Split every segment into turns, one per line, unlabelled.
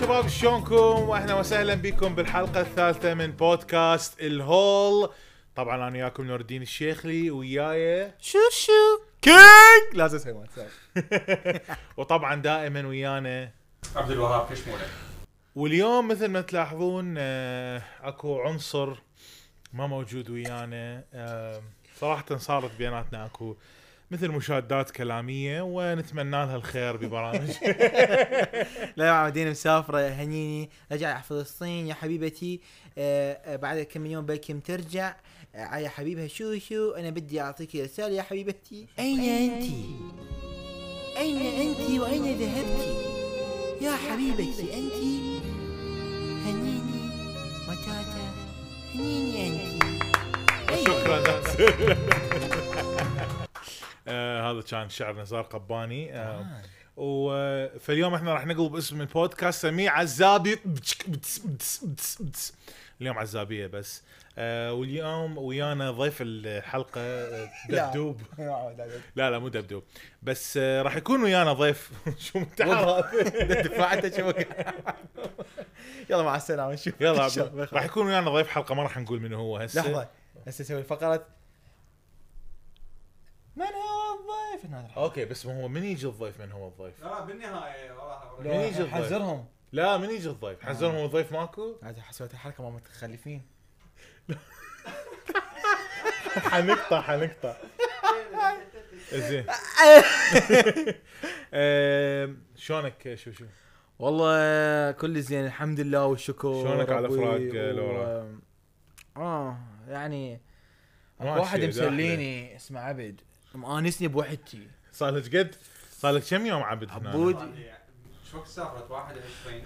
شباب شلونكم واهلا وسهلا بكم بالحلقه الثالثه من بودكاست الهول طبعا انا وياكم نور الدين الشيخلي وياي
شو شو
كينج لازم اسوي مات، سوري. وطبعا دائما ويانا
عبد الوهاب كشموله
واليوم مثل ما تلاحظون آه، اكو عنصر ما موجود ويانا آه، صراحة صارت بيناتنا اكو مثل مشادات كلامية ونتمنى لها الخير ببرامج
لا يا عمدين مسافرة هنيني رجع على فلسطين يا حبيبتي آه، آه، بعد كم من يوم بلكم ترجع آه، يا حبيبها شو شو انا بدي اعطيك رسالة يا حبيبتي اين انت؟ اين انت واين ذهبت؟ يا حبيبتي انت هنيني متاتا هنيني انت
شكرا ناس. آه، هذا كان شعر نزار قباني آه، و آه، فاليوم احنا راح نقلب اسم البودكاست سميه عزابي بتشك- بتس- بتس- بتس- بتس. اليوم عزابيه بس آه، واليوم ويانا ضيف الحلقه آه، دبدوب لا لا مو دبدوب بس آه، راح يكون ويانا ضيف شو متعرف
دفعتها شو يلا مع السلامة نشوف
يلا عبد الله. راح يكون ويانا ضيف حلقه ما راح نقول من هو هسه
لحظة هسه اسوي فقرة من هو الضيف؟ هنا راح-
اوكي بس ما هو من يجي الضيف من هو الضيف
لا بالنهايه والله
من يجي الضيف؟
حذرهم
لا من يجي الضيف حزرهم هو الضيف ماكو
هذا حسويت الحركة مع متخلفين
حنقطع حنقطع زين آم، شلونك شو شو
والله كل زين الحمد لله والشكر
شلونك على
ربي
فراق
و-
لورا؟
اه يعني
ما يعني.
واحد
شي، داخلة.
مسليني اسمه عبد مؤانسني بوحدتي
صار لك قد صار لك كم يوم عبد هنا؟
عبود.
شو وقت سافرت يعني 21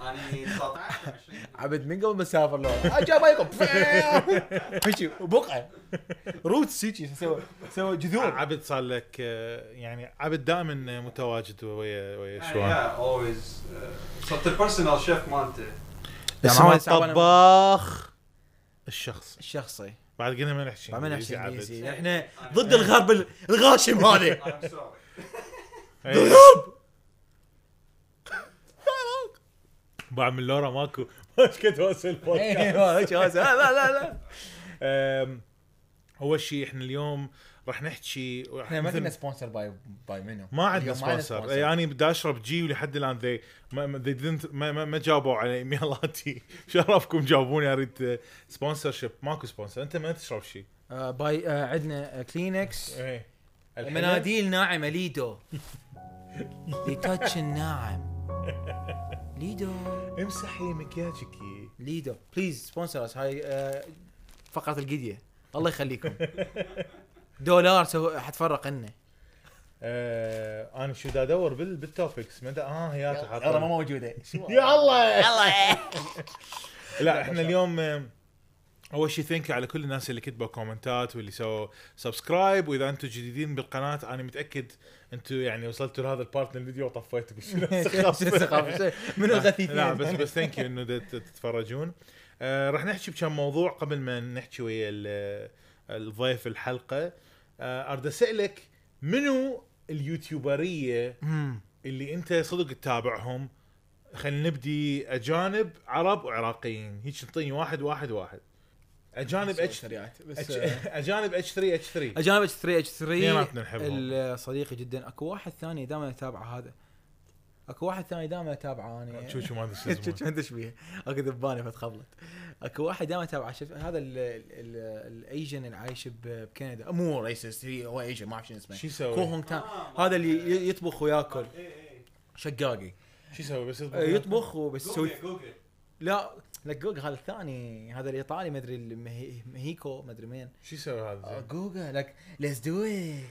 انا 19 20
عبد من قبل ما اسافر لو اجا بايكم مشي بقعه روتس هيجي سوى سوى جذور
عبد صار لك آه، يعني عبد دائما متواجد ويا
آه،
ويا شوان
يعني يا اولويز صرت البيرسونال شيف مالته
اسمه
يعني صعب أنا-
الطباخ الشخص
الشخصي
بعد قلنا ما نحكي
بعد ما
إنجليزي
نحكي
عبد.
انجليزي احنا ضد الغرب ال- الغاشم هذا
I'm sorry.
إيه. بعد من لورا ماكو ما ايش قد واسع البودكاست
ايوه هيك هذا. لا لا لا
أم، اول شيء احنا اليوم راح نحكي
احنا ما
مثل-
كنا سبونسر باي باي منو
ما عندنا سبونسر انا يعني بدي اشرب جي ولحد الان ذي ما ما- they didn't- ما, ما, ما جاوبوا على ايميلاتي شرفكم جاوبوني اريد سبونسر شيب ماكو سبونسر انت ما تشرب شيء
باي آه، عندنا كلينكس
ايه الحلو.
مناديل ناعمه ليدو لتاتش الناعم ليدو
امسحي مكياجك
ليدو بليز سبونسر اس هاي آه، فقره القديه الله يخليكم دولار سو حتفرق لنا
آه انا شو دا ادور بال بالتوبكس ما دا- اه هي
ترى ما موجوده
يا الله لا احنا اليوم آه، اول شيء ثانك على كل الناس اللي كتبوا كومنتات واللي سووا سبسكرايب واذا انتم جديدين بالقناه انا متاكد انتم يعني وصلتوا لهذا البارت من الفيديو وطفيتوا
منو الغثيثين
لا بس بس ثانك يو انه دت- تتفرجون آه راح نحكي بكم موضوع قبل ما نحكي ويا ال- آه، الضيف الحلقه آه ارد اسالك منو اليوتيوبريه
مم.
اللي انت صدق تتابعهم خلينا نبدي اجانب عرب وعراقيين هيك تعطيني واحد واحد واحد اجانب اتش 3
سريعات
آه.
آه،
اجانب اتش 3 اتش 3
اجانب اتش 3 اتش 3
اثنيناتنا نحبهم
ال- صديقي جدا اكو واحد ثاني دائما اتابعه هذا اكو واحد ثاني دائما اتابعه انا
شو شو ما ادري شو
شو شو
اسمه.
عندش بيه اكو ذبانه فتخبلت اكو واحد دائما اتابعه شفت هذا ال- ال- ال- الايجن اللي عايش ب- بكندا مو ريسست هو ايجن ما اعرف شنو اسمه
شو
كو
يسوي؟
هونغ تان هذا اللي ي- يطبخ وياكل
اي اي
شقاقي
شو يسوي بس
أه، يطبخ وبس يسوي
جوجل جوجل
لا لا جوجل هذا الثاني هذا الايطالي ما ادري المهي- مهيكو ما ادري مين
شو يسوي
آه،
هذا؟
جوجل لك ليتس دو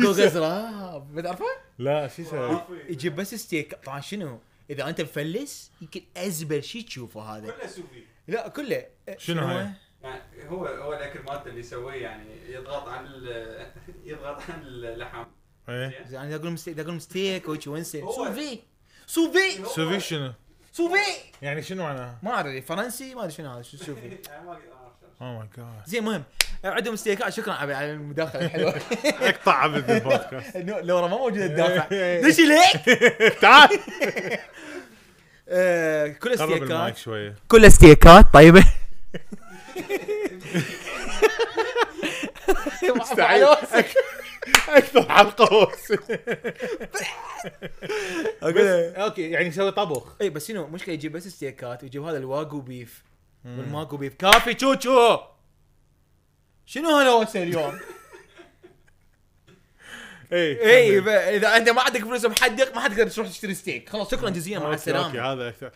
جوجل زراب ما تعرفه؟
لا شو يسوي؟
يجيب بس ستيك طبعا شنو؟ اذا انت مفلس يمكن ازبل شيء تشوفه هذا
كله سوفي
لا كله آه،
شنو
هو؟
هاي؟
يعني هو هو الاكل مالته اللي يسويه يعني يضغط عن ال- يضغط عن اللحم
إيه.
زين
زين انا إذا اقول مستيك إذا اقول مستيك وهيك وانسى
هو-
سوفي سوفي
سوفي شنو؟
سوفي
يعني شنو معناها؟
ما ادري فرنسي ما ادري شنو هذا شو سوفي
يعني ما أقدر أعرف شو
اوه ماي جاد
زين مهم عندهم استيكات شكرا على على المداخله الحلوه
اقطع عبد البودكاست
إنه لورا ما موجوده تدافع دش ليك
تعال
آه، كل
قرب المايك
استيكات
شويه
كل استيكات طيبه
مستحيل. اكثر حلقه وصل.
اقول
بس- اوكي يعني يسوي طبخ
اي إيه، بس شنو مشكله يجيب بس ستيكات ويجيب هذا الواقو بيف والماكو بيف كافي تشو تشو شنو هالوسه اليوم؟
اي
اي ب- اذا انت ما عندك فلوس محدق ما حد يقدر تروح تشتري ستيك خلاص شكرا جزيلا مع
أوكي، اوكي
السلامه
هذا أكثر.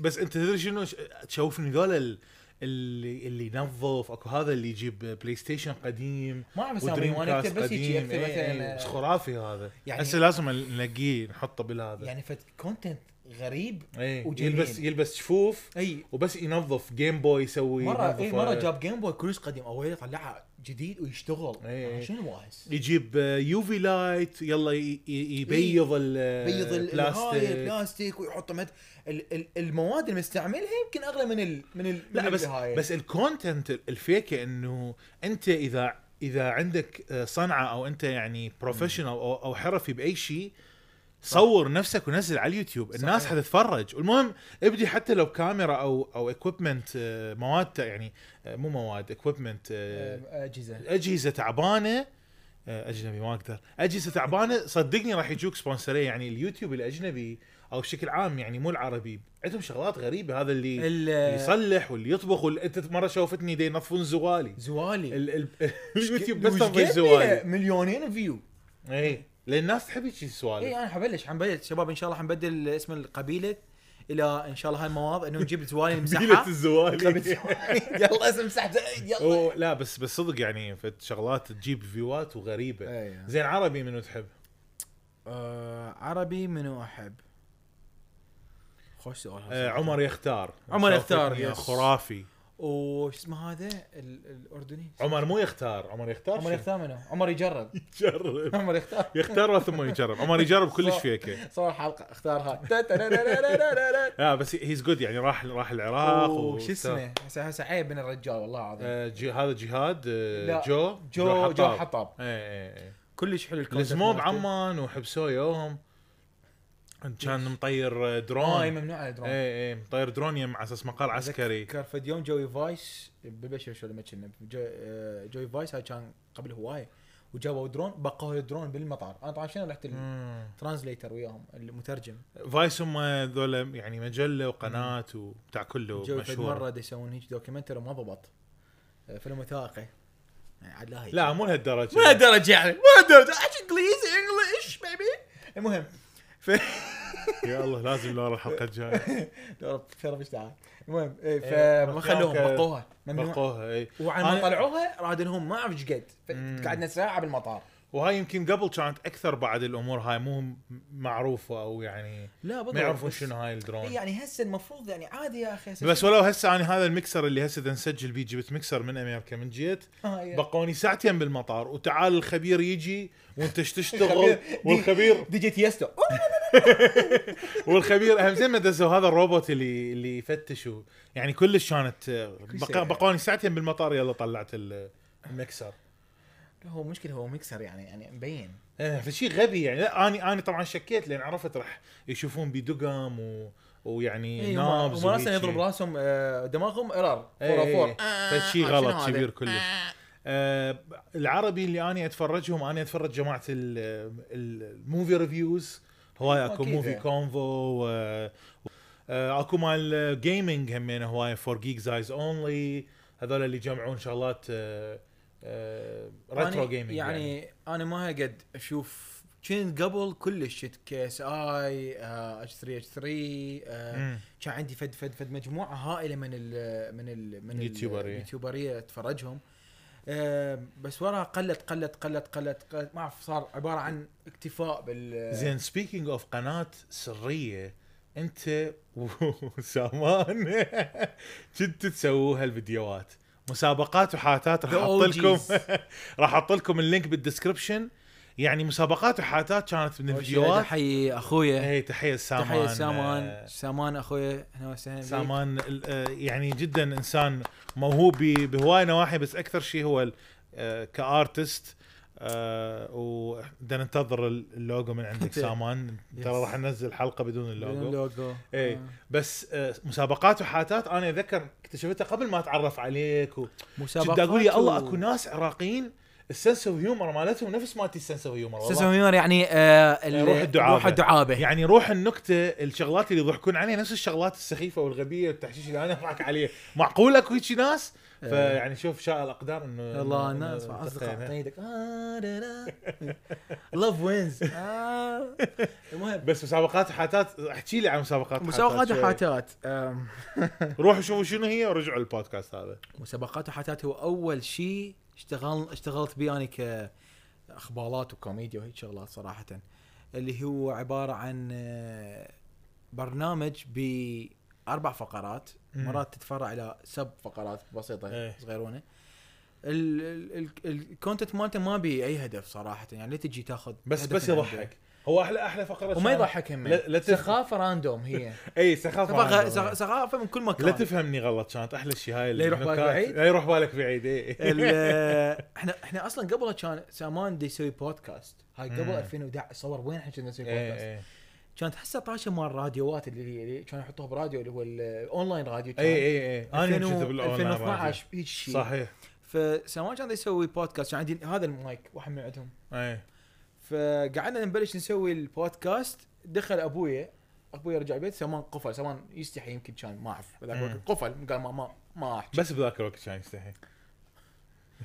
بس انت تدري شنو ش- تشوفني ذول ال- اللي اللي ينظف اكو هذا اللي يجيب بلاي ستيشن قديم
ما اعرف اسامي
ودريم
وانا
كاست
اكتب بس هيجي
قديم
اكتب
إي، إي،
مثلا
بس خرافي هذا
آه، يعني-
يعني هسه لازم نلاقيه نحطه بالهذا يعني
يعني فت كونتنت غريب وجميل.
إيه،
إيه،
يلبس يلبس شفوف
اي
وبس ينظف جيم بوي يسوي
مره
ينظف- آه،
اي مره إيه، جاب جيم بوي كروس قديم اويله طلعها جديد ويشتغل
إي، إي.
شنو واهس
يجيب آه، يوفي لايت يلا ي- ي- يبيض ال- آه،
بيض إيه، ال- الهاي
البلاستيك
البلاستيك ويحطه مت... ال- ال- المواد اللي مستعملها يمكن اغلى من ال... من ال...
لا
من
بس
الهاي.
بس الكونتنت الفيكه انه انت اذا اذا عندك آه، صنعه او انت يعني بروفيشنال او او حرفي باي شيء صور نفسك ونزل على اليوتيوب الناس
صحيح.
حتتفرج والمهم ابدي حتى لو بكاميرا او او اكويبمنت مواد تا- يعني آه، مو مواد اكويبمنت
آه، اجهزه
اجهزه تعبانه آه، اجنبي ما اقدر اجهزه تعبانه صدقني راح يجوك سبونسريه يعني اليوتيوب الاجنبي او بشكل عام يعني مو العربي عندهم شغلات غريبه هذا اللي
إيه،
اللي
ال-
يصلح واللي يطبخ واللي انت مره شوفتني دي ينظفون زوالي
زوالي
ال... ال... اليوتيوب بس
وش
تنظيف
قد
زوالي
مليونين فيو
اي لان الناس تحب هيك
اي
سوالف
انا حبلش حنبلش شباب ان شاء الله حنبدل اسم القبيله الى ان شاء الله هاي المواضيع انه نجيب زوالي
قبيلة
نمسحها قبيلة
الزوالي
زوالي. يلا اسم مسحت يلا
أو لا بس بس صدق يعني فت شغلات تجيب فيوات وغريبه
أي.
زين عربي منو تحب؟
آه، عربي منو احب خوش سؤال
آه
هذا
عمر يختار
عمر
شوفتني
يختار،
يا
يس.
خرافي
وش اسمه هذا ال- الاردني
عمر مو يختار عمر يختار
عمر
شو؟
يختار منو عمر يجرب
يجرب
عمر يختار
يختار ثم يجرب عمر يجرب كلش
صح.
فيك
صور حلقه اختارها
لا بس هيز جود يعني راح راح العراق
وش
وبتاع.
اسمه هسه هسه عيب من الرجال والله العظيم
آه، جي هذا جهاد آه،
لا،
جو
جو جو
حطاب.
حطاب
ايه ايه ايه
كلش حلو الكونتنت
لزموه
مالته.
بعمان وحبسوه يوم كان مطير درون
اي
اي
آه، ممنوع على درون
اي مطير درون يم على اساس مقال إيه، عسكري
كان فد يوم جوي فايس بالبشر شو لما كنا جو- آه، جوي فايس هاي كان قبل هوايه وجابوا درون بقوا الدرون بالمطار انا طبعا شنو رحت
مم.
الترانزليتر وياهم المترجم
فايس هم ذولا يعني مجله وقناه وبتاع كله
جو فد مره
مشهور
دا يسوون هيك دوكيومنتري ما ضبط آه، فيلم وثائقي يعني عاد لا هيك.
لا مو لهالدرجه
مو لهالدرجه يعني مو لهالدرجه احكي انجليزي انجلش بيبي المهم ف
يا الله لازم لورا الحلقه الجايه
دور ترى مش تعال المهم إيه،
إيه،
فما خلوهم
بقيوها ك-
بقوها ممنوع
بقوها اي
وعلى ما
أنا-
طلعوها راد لهم ما اعرف ايش قد ف-
مم.
قعدنا ساعه بالمطار
وهاي يمكن قبل كانت اكثر بعد الامور هاي مو م- معروفه او يعني
لا
ما يعرفون شنو هاي
إيه،
الدرون
يعني هسه المفروض يعني عادي يا اخي هسه
بس
شنو-
ولو هسه انا هذا المكسر اللي هسه دا نسجل بيه جبت مكسر من امريكا من جيت
آه، إيه.
بقوني ساعتين بالمطار وتعال الخبير يجي وانت ايش تشتغل
الخبير- دي-
والخبير
دي جي تيستو
والخبير اهم زين ما دزوا هذا الروبوت اللي اللي يفتش و- يعني كلش كانت آه، بقا-
شيء.
بقوني ساعتين بالمطار يلا طلعت ال- المكسر
لا، هو مشكله هو ميكسر يعني يعني مبين
آه، فشي غبي يعني لا انا انا طبعا شكيت لان عرفت راح يشوفون بي دقم و ويعني
إيه، هم-
نابز
هم راسا يضرب
راسه
راسهم آه، دماغهم ارار فور فور
فور إيه، فشي غلط
شنو هذا؟
كبير كلش آه، العربي اللي اني اتفرجهم اني اتفرج جماعه ال- ال- الموفي ريفيوز هواي اكو
أكيد.
موفي كونفو و- آه، اكو مال جيمنج همين هواي فور جيكز ايز اونلي هذول اللي يجمعون شغلات آه، آه، ريترو
أنا-
جيمنج يعني,
يعني انا ما قد اشوف كنت قبل كلش شت كي آه، اس اي اتش 3 اتش 3
مم.
كان عندي فد فد فد مجموعه هائله من ال من ال من ال-
يوتيوبرية.
اليوتيوبريه اتفرجهم آه، بس ورا قلت قلت قلت قلت قلت ما اعرف صار عباره عن اكتفاء بال
زين سبيكينج اوف قناه سريه انت وسامان كنت تسووا هالفيديوهات مسابقات وحاتات راح
The
احط لكم
OGs.
راح احط لكم اللينك بالدسكربشن يعني مسابقات وحاتات كانت من
أول شيء أريد
الفيديوهات إيه،
احيي اخويا
هي تحيه سامان
تحيه سامان
آه،
سامان اخويا اهلا وسهلا بك.
سامان ال- آه، يعني جدا انسان موهوب ب- بهواي نواحي بس اكثر شيء هو ال- آه، كارتست آه، وبدنا ننتظر ال- اللوجو من عندك سامان ترى
Yes.
راح ننزل حلقه بدون
بدون
اللوجو
لوجو
إيه.
آه.
بس آه، مسابقات وحاتات انا اتذكر اكتشفتها قبل ما اتعرف عليك و...
مسابقات
كنت اقول يا الله
و-
اكو ناس عراقيين السنس اوف هيومر مالتهم نفس مالتي السنس اوف هيومر
استاذ
والله.
ميمار يعني آه ال-
روح الدعابة.
روح الدعابه
يعني روح النكته الشغلات اللي يضحكون عليها نفس الشغلات السخيفه والغبيه والتحشيش اللي انا اضحك عليه معقول اكو هيك ناس
إيه.
فيعني شوف شاء الاقدار انه
والله
إنه-
الناس
إنه
مع اصدقاء
التقينا.
أعطيني يدك آه، لاف وينز آه. المهم
بس مسابقات حاتات احكي لي عن مسابقات
مسابقات
شوي.
وحاتات آم،
روحوا شوفوا شنو هي ورجعوا البودكاست هذا
مسابقات وحاتات هو اول شيء اشتغل اشتغلت بيه انا كاخبارات وكوميديا وهيك شغلات صراحه اللي هو عباره عن آه، برنامج باربع فقرات
مم.
مرات تتفرع الى سب فقرات بسيطه
إيه.
صغيرونه ال- ال- ال- الكونتنت مالته ما بي اي هدف صراحه يعني لا تجي تاخذ
بس
هدف
بس
من عنده.
يضحك هو احلى احلى فقره
وما
شان-
يضحك هم
لا- لا تف-
سخافه راندوم هي
اي سخافه
سخافه
عندهم.
سخ- سخافه من كل مكان
لا تفهمني غلط كانت احلى شيء هاي
لا يروح بالك
النكات.
بعيد؟
لا يروح بالك بعيد اي
ال- احنا احنا اصلا قبل كان سامان دي يسوي بودكاست هاي قبل
مم.
2011 صور وين احنا كنا نسوي
إيه،
بودكاست
إيه.
كانت هسه طاشه مال الراديوات اللي هي اللي كانوا يحطوها براديو اللي هو الاونلاين راديو كان.
اي اي اي انا
2000
كنت بالاونلاين
2012 هيك
راديو.
شيء
صحيح
فسامان كان دي يسوي بودكاست كان عندي هذا المايك واحد من عندهم
اي
فقعدنا نبلش نسوي البودكاست دخل ابويا ابويا رجع البيت سامان قفل سامان يستحي يمكن كان ما اعرف بذاك
مم.
الوقت قفل قال ما ما ما احكي
بس بذاك الوقت كان يستحي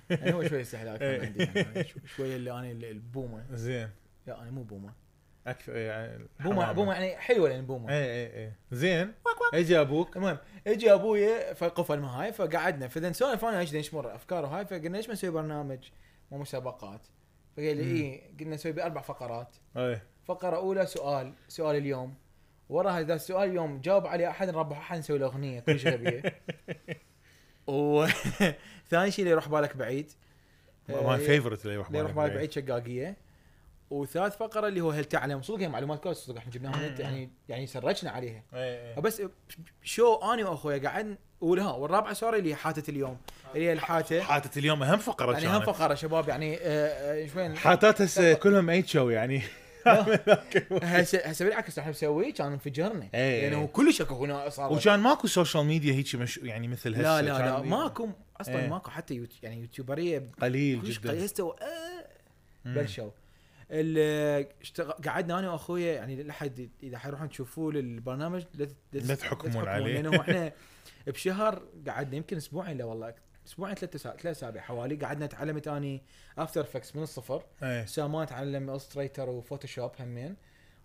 يعني هو شوي يستحي اكثر
إيه.
من عندي يعني شو- شوي اللي انا اللي- البومه
زين
لا انا مو بومه
اكثر يعني
بومه
حمامة.
بومه يعني حلوه لان بومه
اي اي اي إيه. زين اجى ابوك
المهم اجى ابويا فقفل معاي فقعدنا فاذا نسولف انا ايش ايش مره افكار وهاي فقلنا ليش ما نسوي برنامج مو مسابقات فقال لي
مم.
اي قلنا نسوي باربع فقرات
اي
فقره اولى سؤال سؤال اليوم وراها اذا السؤال اليوم جاوب عليه احد نربح احد نسوي له اغنيه كلش غبيه وثاني شيء اللي يروح بالك بعيد
ماي فيفرت اللي يروح
اللي إيه. يروح بالك بعيد شقاقيه وثالث فقره اللي هو هل تعلم صدق هي معلومات كويس صدق احنا جبناها من النت، يعني يعني سرجنا عليها
اي اي
بس شو اني واخويا قعدنا ولها والرابعه سوري اللي هي حاتت اليوم اللي هي الحاته
حاتت اليوم اهم فقره
يعني هم
كانت
فقره شباب يعني آه، آه، شوين
حاتات هسه كلهم ايتشو يعني
هسه هسه بالعكس احنا مسويه كان يعني انفجرنا
إيه.
لانه كلش اكو هنا صار
وكان ماكو سوشيال ميديا هيك مش يعني مثل هسه
لا لا
كان
لا ماكو اصلا
إيه.
ماكو حتى يوت يعني يوتيوبريه
قليل
كلش
جدا
قليل هسه آه،
مم.
بلشوا ال- اشتغ- قعدنا انا واخويا يعني لحد اذا حيروحون تشوفون البرنامج لا تت- لا تت-
لا
لا
تحكمون
تحكمون،
عليه.
لانه احنا بشهر قعدنا يمكن اسبوعين لا والله اسبوعين ثلاث ثلاث اسابيع حوالي قعدنا تعلمت اني افتر افكتس من الصفر
إيه.
سامان تعلم الستريتر وفوتوشوب همين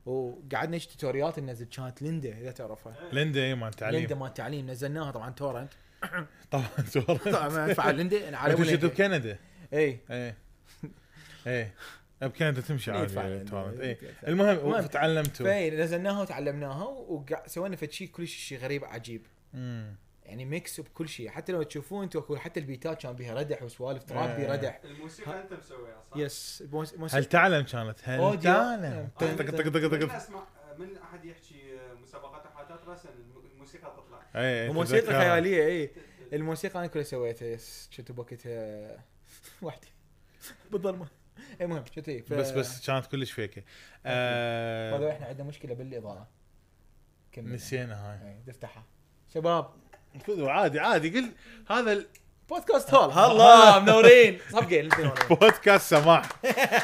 وقعدنا نش توتوريالات ننزل كانت ليندا اذا تعرفها
ليندا اي مال
ليندا
تعليم
مال التعليم نزلناها طبعا تورنت
طبعا سوالف
طبعا ما ادفع ليندا أنا على
انتم شفتوا
ولا-
بكندا
اي
ايه ايه بكندا تمشي
إيه،
عادي
فعلاً.
يعني تورنت ايه
فعلاً.
المهم
المهم.
تعلمتوا
فاي نزلناها وتعلمناها وسوينا فد شيء كلش شيء غريب عجيب
مم.
يعني ميكس بكل شيء حتى لو تشوفون انتم اكو حتى البيتات كان بيها ردح وسوالف تراب بيه
آه.
ردح
الموسيقى انت مسويها صح؟
يس موس- موس-
هل تعلم كانت هل
أوديو. أه.
تعلم طق طق طق طق
من
طق
اسمع من احد يحكي مسابقات وحاجات راسا الموسيقى تطلع
إيه،
وموسيقى
تتذكرها.
خياليه اي إيه. الموسيقى انا كلها سويتها يس كنت بوقتها وحدي بالظلمه اي المهم شفت إيه، ف-
بس بس كانت كلش فيكه
أه. هذا
آه
احنا عندنا مشكله بالاضاءه كمل
نسينا هاي
إيه، دفتحها شباب
خذوا عادي عادي قل هذا
بودكاست هول هلا منورين صفقه الاثنين والله.
البودكاست سماح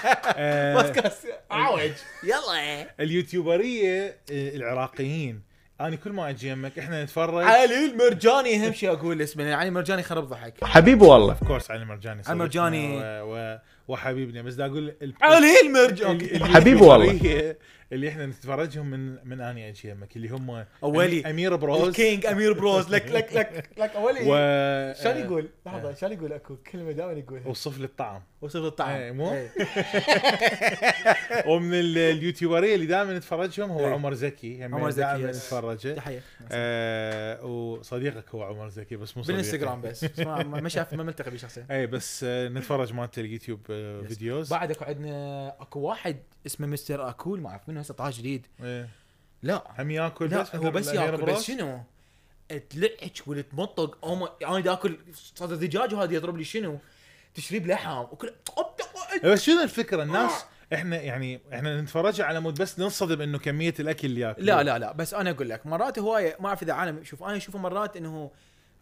آه
بودكاست عوج يلا
اليوتيوبريه آه، العراقيين انا كل ما اجي يمك احنا نتفرج
علي المرجاني اهم شيء اقول اسمه لأن علي المرجاني خرب ضحك
حبيبي والله
اوف كورس علي مرجاني صديقنا
مرجاني.
و... و... وحبيبنا بس دا اقول ال...
علي المرجاني
ال-
حبيبي والله.
اليوتيوبرية اللي احنا نتفرجهم من من اني اجي يمك اللي هم
أولي.
امير بروز
الكينج امير بروز لك لك لك لك اولي
و
شلون يقول؟ لحظه شلون يقول اكو كلمه دائما يقولها
وصف لي الطعم
وصف الطعم
إيه، مو؟
إيه.
ومن ال- اليوتيوبريه اللي دائما نتفرجهم هو
إيه.
عمر زكي هم
عمر زكي، إيه.
دائما
يس.
نتفرجه
تحيه
آه وصديقك هو عمر زكي بس مو صديقي.
بالانستغرام بس بس ما ما- ما شاف ما ملتقي بيه شخصيا
اي بس آه، نتفرج مالت اليوتيوب آه، آه، فيديوز
بعد اكو عندنا اكو واحد اسمه مستر اكول ما اعرف منه هسه طاش جديد
إيه.
لا
هم ياكل
لا هو
مثل
بس
الأغيار
ياكل
براس.
بس شنو؟ تلعج ولا تمطق او ما انا دا اكل صدر دجاج وهذا يضرب لي شنو؟ تشريب لحم وكل
إيه، بس شنو
آه.
الفكره الناس احنا يعني احنا نتفرجها على مود بس ننصدم انه كميه الاكل اللي ياكل
لا لا لا بس انا اقول لك مرات هوايه ما اعرف اذا عالم شوف انا اشوفه مرات انه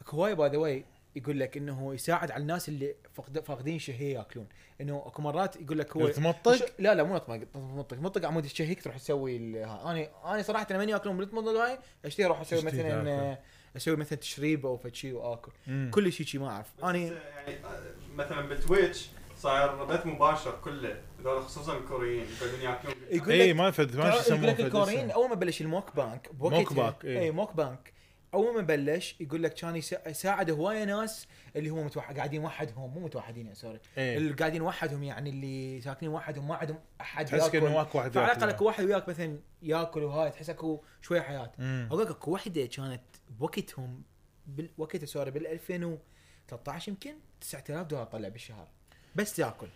اكو هوايه باي ذا واي يقول لك انه يساعد على الناس اللي فقد- فاقدين شهيه ياكلون انه اكو مرات يقول لك هو
تمطق
مش- لا لا مو نطمق نطمق نطمق عمود الشهيك تروح تسوي ال- ها. انا انا صراحه لما ياكلون بالمطمق هاي اشتهي اروح اسوي
تشتهي
مثلا
تاكل.
اسوي مثلا تشريب او فد شيء واكل
مم.
كل شيء شي ما اعرف
يعني
انا
آه، مثلا بالتويتش صاير بث مباشر كله هذول خصوصا الكوريين يقعدون ياكلون
يقول-
اي إيه، ما فد ما شو
يقول
يسمونه
لك
فد
الكوريين
اسم.
اول ما بلش الموك بانك بوقتها-
موك بانك، إيه.
اي موك بانك اول ما بلش يقول لك كان يسا- يساعد هوايه ناس اللي هم متوح... قاعدين وحدهم مو متوحدين سوري
إيه.
اللي قاعدين وحدهم يعني اللي ساكنين وحدهم ما عندهم احد
تحس
ياكل.
كأنه ماكو واحد
فعلى
ياكل.
الاقل اكو واحد وياك مثلا ياكل وهاي تحس اكو شويه حياه
مم.
اقول لك اكو وحده كانت بوقتهم بوقتها سوري بال 2013 يمكن 9000 دولار طلع بالشهر بس تاكل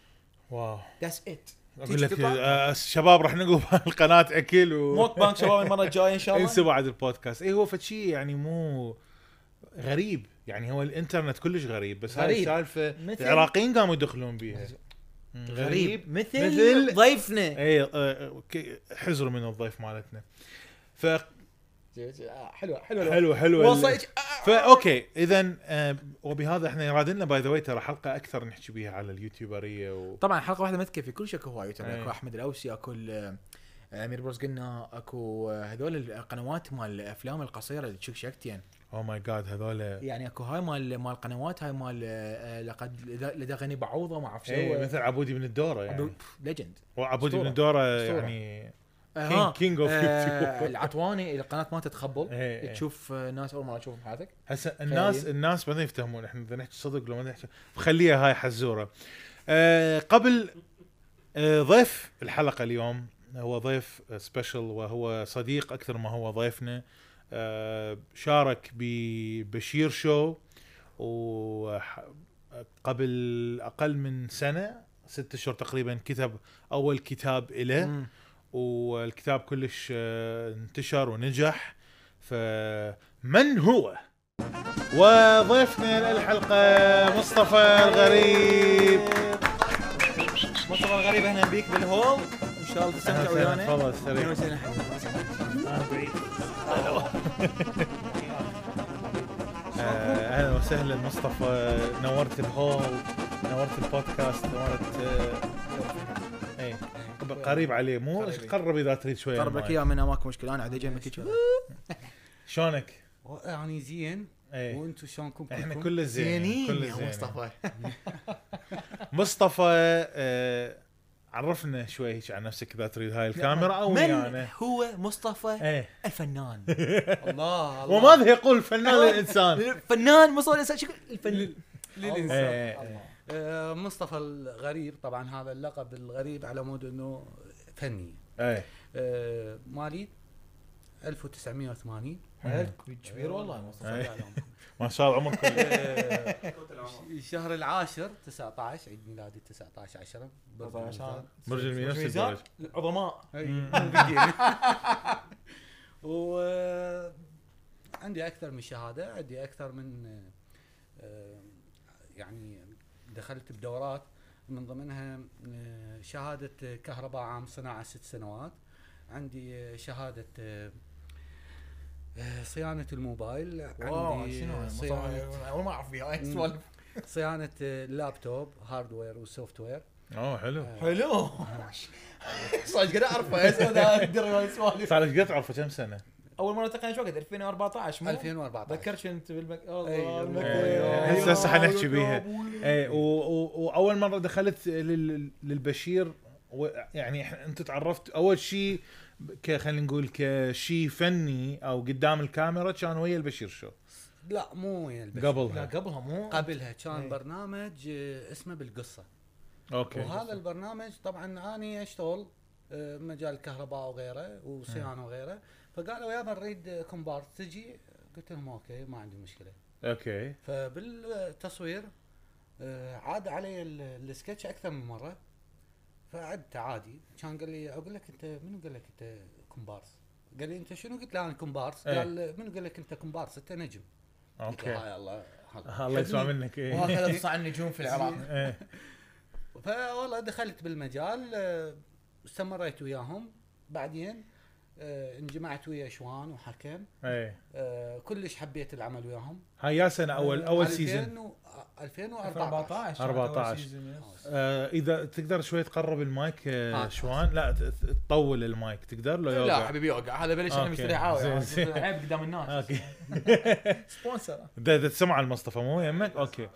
واو
ذاتس ات
اقول لك آه، شباب راح نقلب القناه اكل و
موك بانك شباب المره الجايه ان شاء الله
انسوا بعد البودكاست اي هو فشي يعني مو غريب يعني هو الانترنت كلش غريب بس هاي
غريب.
السالفه
مثل-
العراقيين قاموا يدخلون بيها مم.
غريب مثل, إيه.
مثل-
ضيفنا
اي آه، ك- حزروا من الضيف مالتنا ف
حلوه حلوه
حلو حلو ال-
وصلت
فا اوكي اذا آه، وبهذا احنا يرادلنا باي ذا واي ترى حلقه اكثر نحكي بيها على اليوتيوبريه و...
طبعا حلقه واحده ما تكفي كل شيء اكو هواي ترى
أي.
اكو احمد الاوسي اكو ال- امير بروز قلنا اكو هذول القنوات مال الافلام القصيره اللي تشوف شكتين
او ماي جاد هذول
يعني اكو هاي مال مال قنوات هاي مال آه، لقد لدى- لدى غني بعوضه ما اعرف
إيه،
شو
مثل عبودي بن الدوره يعني
ليجند
وعبودي بن
أسطورة.
الدوره
أسطورة.
يعني كينج كينج اوف يوتيوب
آه، العطواني القناه ما تتخبل
إيه، إيه.
تشوف آه، ناس اول مره تشوفهم بحياتك
هسه الناس
خيالي.
الناس ما يفتهمون احنا بدنا نحكي صدق لو ما نحكي خليها هاي حزوره آه قبل آه ضيف الحلقه اليوم هو ضيف سبيشل وهو صديق اكثر ما هو ضيفنا آه شارك ببشير شو وقبل اقل من سنه ست اشهر تقريبا كتب اول كتاب له
مم.
والكتاب كلش آه، انتشر ونجح فمن هو؟ وضيفنا للحلقة مصطفى الغريب
مصطفى الغريب اهلا بيك بالهول ان شاء
أهلاً
الله تستمتع
وسهلاً،
ويانا
تفضل،
أهلاً
استريح.
وسهلاً.
آه، أهلا وسهلا مصطفى نورت الهول نورت البودكاست نورت آه، ايه قب- قريب عليه مو
قريب.
قرب اذا تريد شوي
قرب لك
المايك.
اياه من ماكو مشكله انا عاد اجنبك هيك.
شلونك؟
يعني زين
ايه
وانتم شلونكم
احنا
كلكم؟
كل زينين كل
يا
زينين.
مصطفى
مصطفى آه، عرفنا شوي هيك عن نفسك اذا تريد هاي الكاميرا يعني. او
من
ويانا
هو مصطفى
ايه
الفنان
الله الله
وماذا يقول فنان الانسان؟
الفنان مصطفى الانسان شكل الفنان
للانسان
إيه.
آه، مصطفى الغريب طبعا هذا اللقب الغريب على مود انه فني
ايه
آه، مالي 1980
كبير والله مصطفى
صدق عليهم.
ما شاء الله عمرك
آه،
كتل العمر.
الشهر العاشر 19 عيد ميلادي 19 10 برج
طبعاً
الميزان.
عشان-
برج الميزان نفس
ميزان
الدرجة.
عظماء
أي،
مم.
مو و آه، عندي اكثر من شهاده عندي اكثر من آه، آه، يعني دخلت بدورات من ضمنها آه، شهاده كهرباء عام صناعه ست سنوات عندي آه، شهاده آه، آه، صيانه الموبايل
واو
عندي
شنو
آه،
مصطفى؟
صيانه
اول ما اعرف بيه هاي
مم.
السوالف.
صيانه آه، اللابتوب هاردوير وسوفت وير
اوه حلو
آه. حلو صدق قاعد اعرفه بس أنا ادري هاي السوالف
صار ايش قد تعرفه كم سنه؟
اول مره التقينا شو وقت 2014 مو
2014
ذكرت انت بالمك
أيوه.
والله
أيوه.
المكتب.
هسه هسه حنحكي بيها اي إيه، و- و- واول مره دخلت لل- للبشير و- يعني إحنا- انت تعرفت اول شيء ك خلينا نقول كشيء فني او قدام الكاميرا كان ويا البشير شو
لا مو ويا البشر.
لا
قبلها
قبلها مو
قبلها كان
إيه.
برنامج آه، اسمه بالقصه
اوكي
وهذا البرنامج طبعا اني اشتغل آه، مجال الكهرباء وغيره
إيه.
وصيانه وغيره فقالوا يابا نريد آه، كومبارس تجي قلت لهم اوكي ما عندي مشكله
اوكي
فبالتصوير آه، آه، عاد علي ال- السكتش اكثر من مره فعدت عادي كان قال لي اقول لك انت منو قال لك انت كومبارس؟ قال لي انت شنو؟ قلت له انا كومبارس
إيه.
قال منو قال لك انت كومبارس انت نجم قلت له
اوكي
هاي الله هذا.
الله يسمع
حبني.
منك إيه.
وهكذا تصنع النجوم في العراق
إيه.
فوالله دخلت بالمجال آه، استمريت وياهم بعدين آه، انجمعت ويا شوان وحكم
إيه.
آه، كلش حبيت العمل وياهم
هاي يا سنه اول اول
2000
سيزون
و- آه،
14
2014
14. آه اذا تقدر شوي تقرب المايك آه
آه.
شوان لا ت- ت- تطول المايك تقدر لو
لا
يوقع.
حبيبي اوقع هذا بلش انا
أوكي.
مشتري
زين،
عاوي
زين.
عيب قدام الناس
اوكي
سبونسر
ده, ده تسمع على المصطفى مو يمك اوكي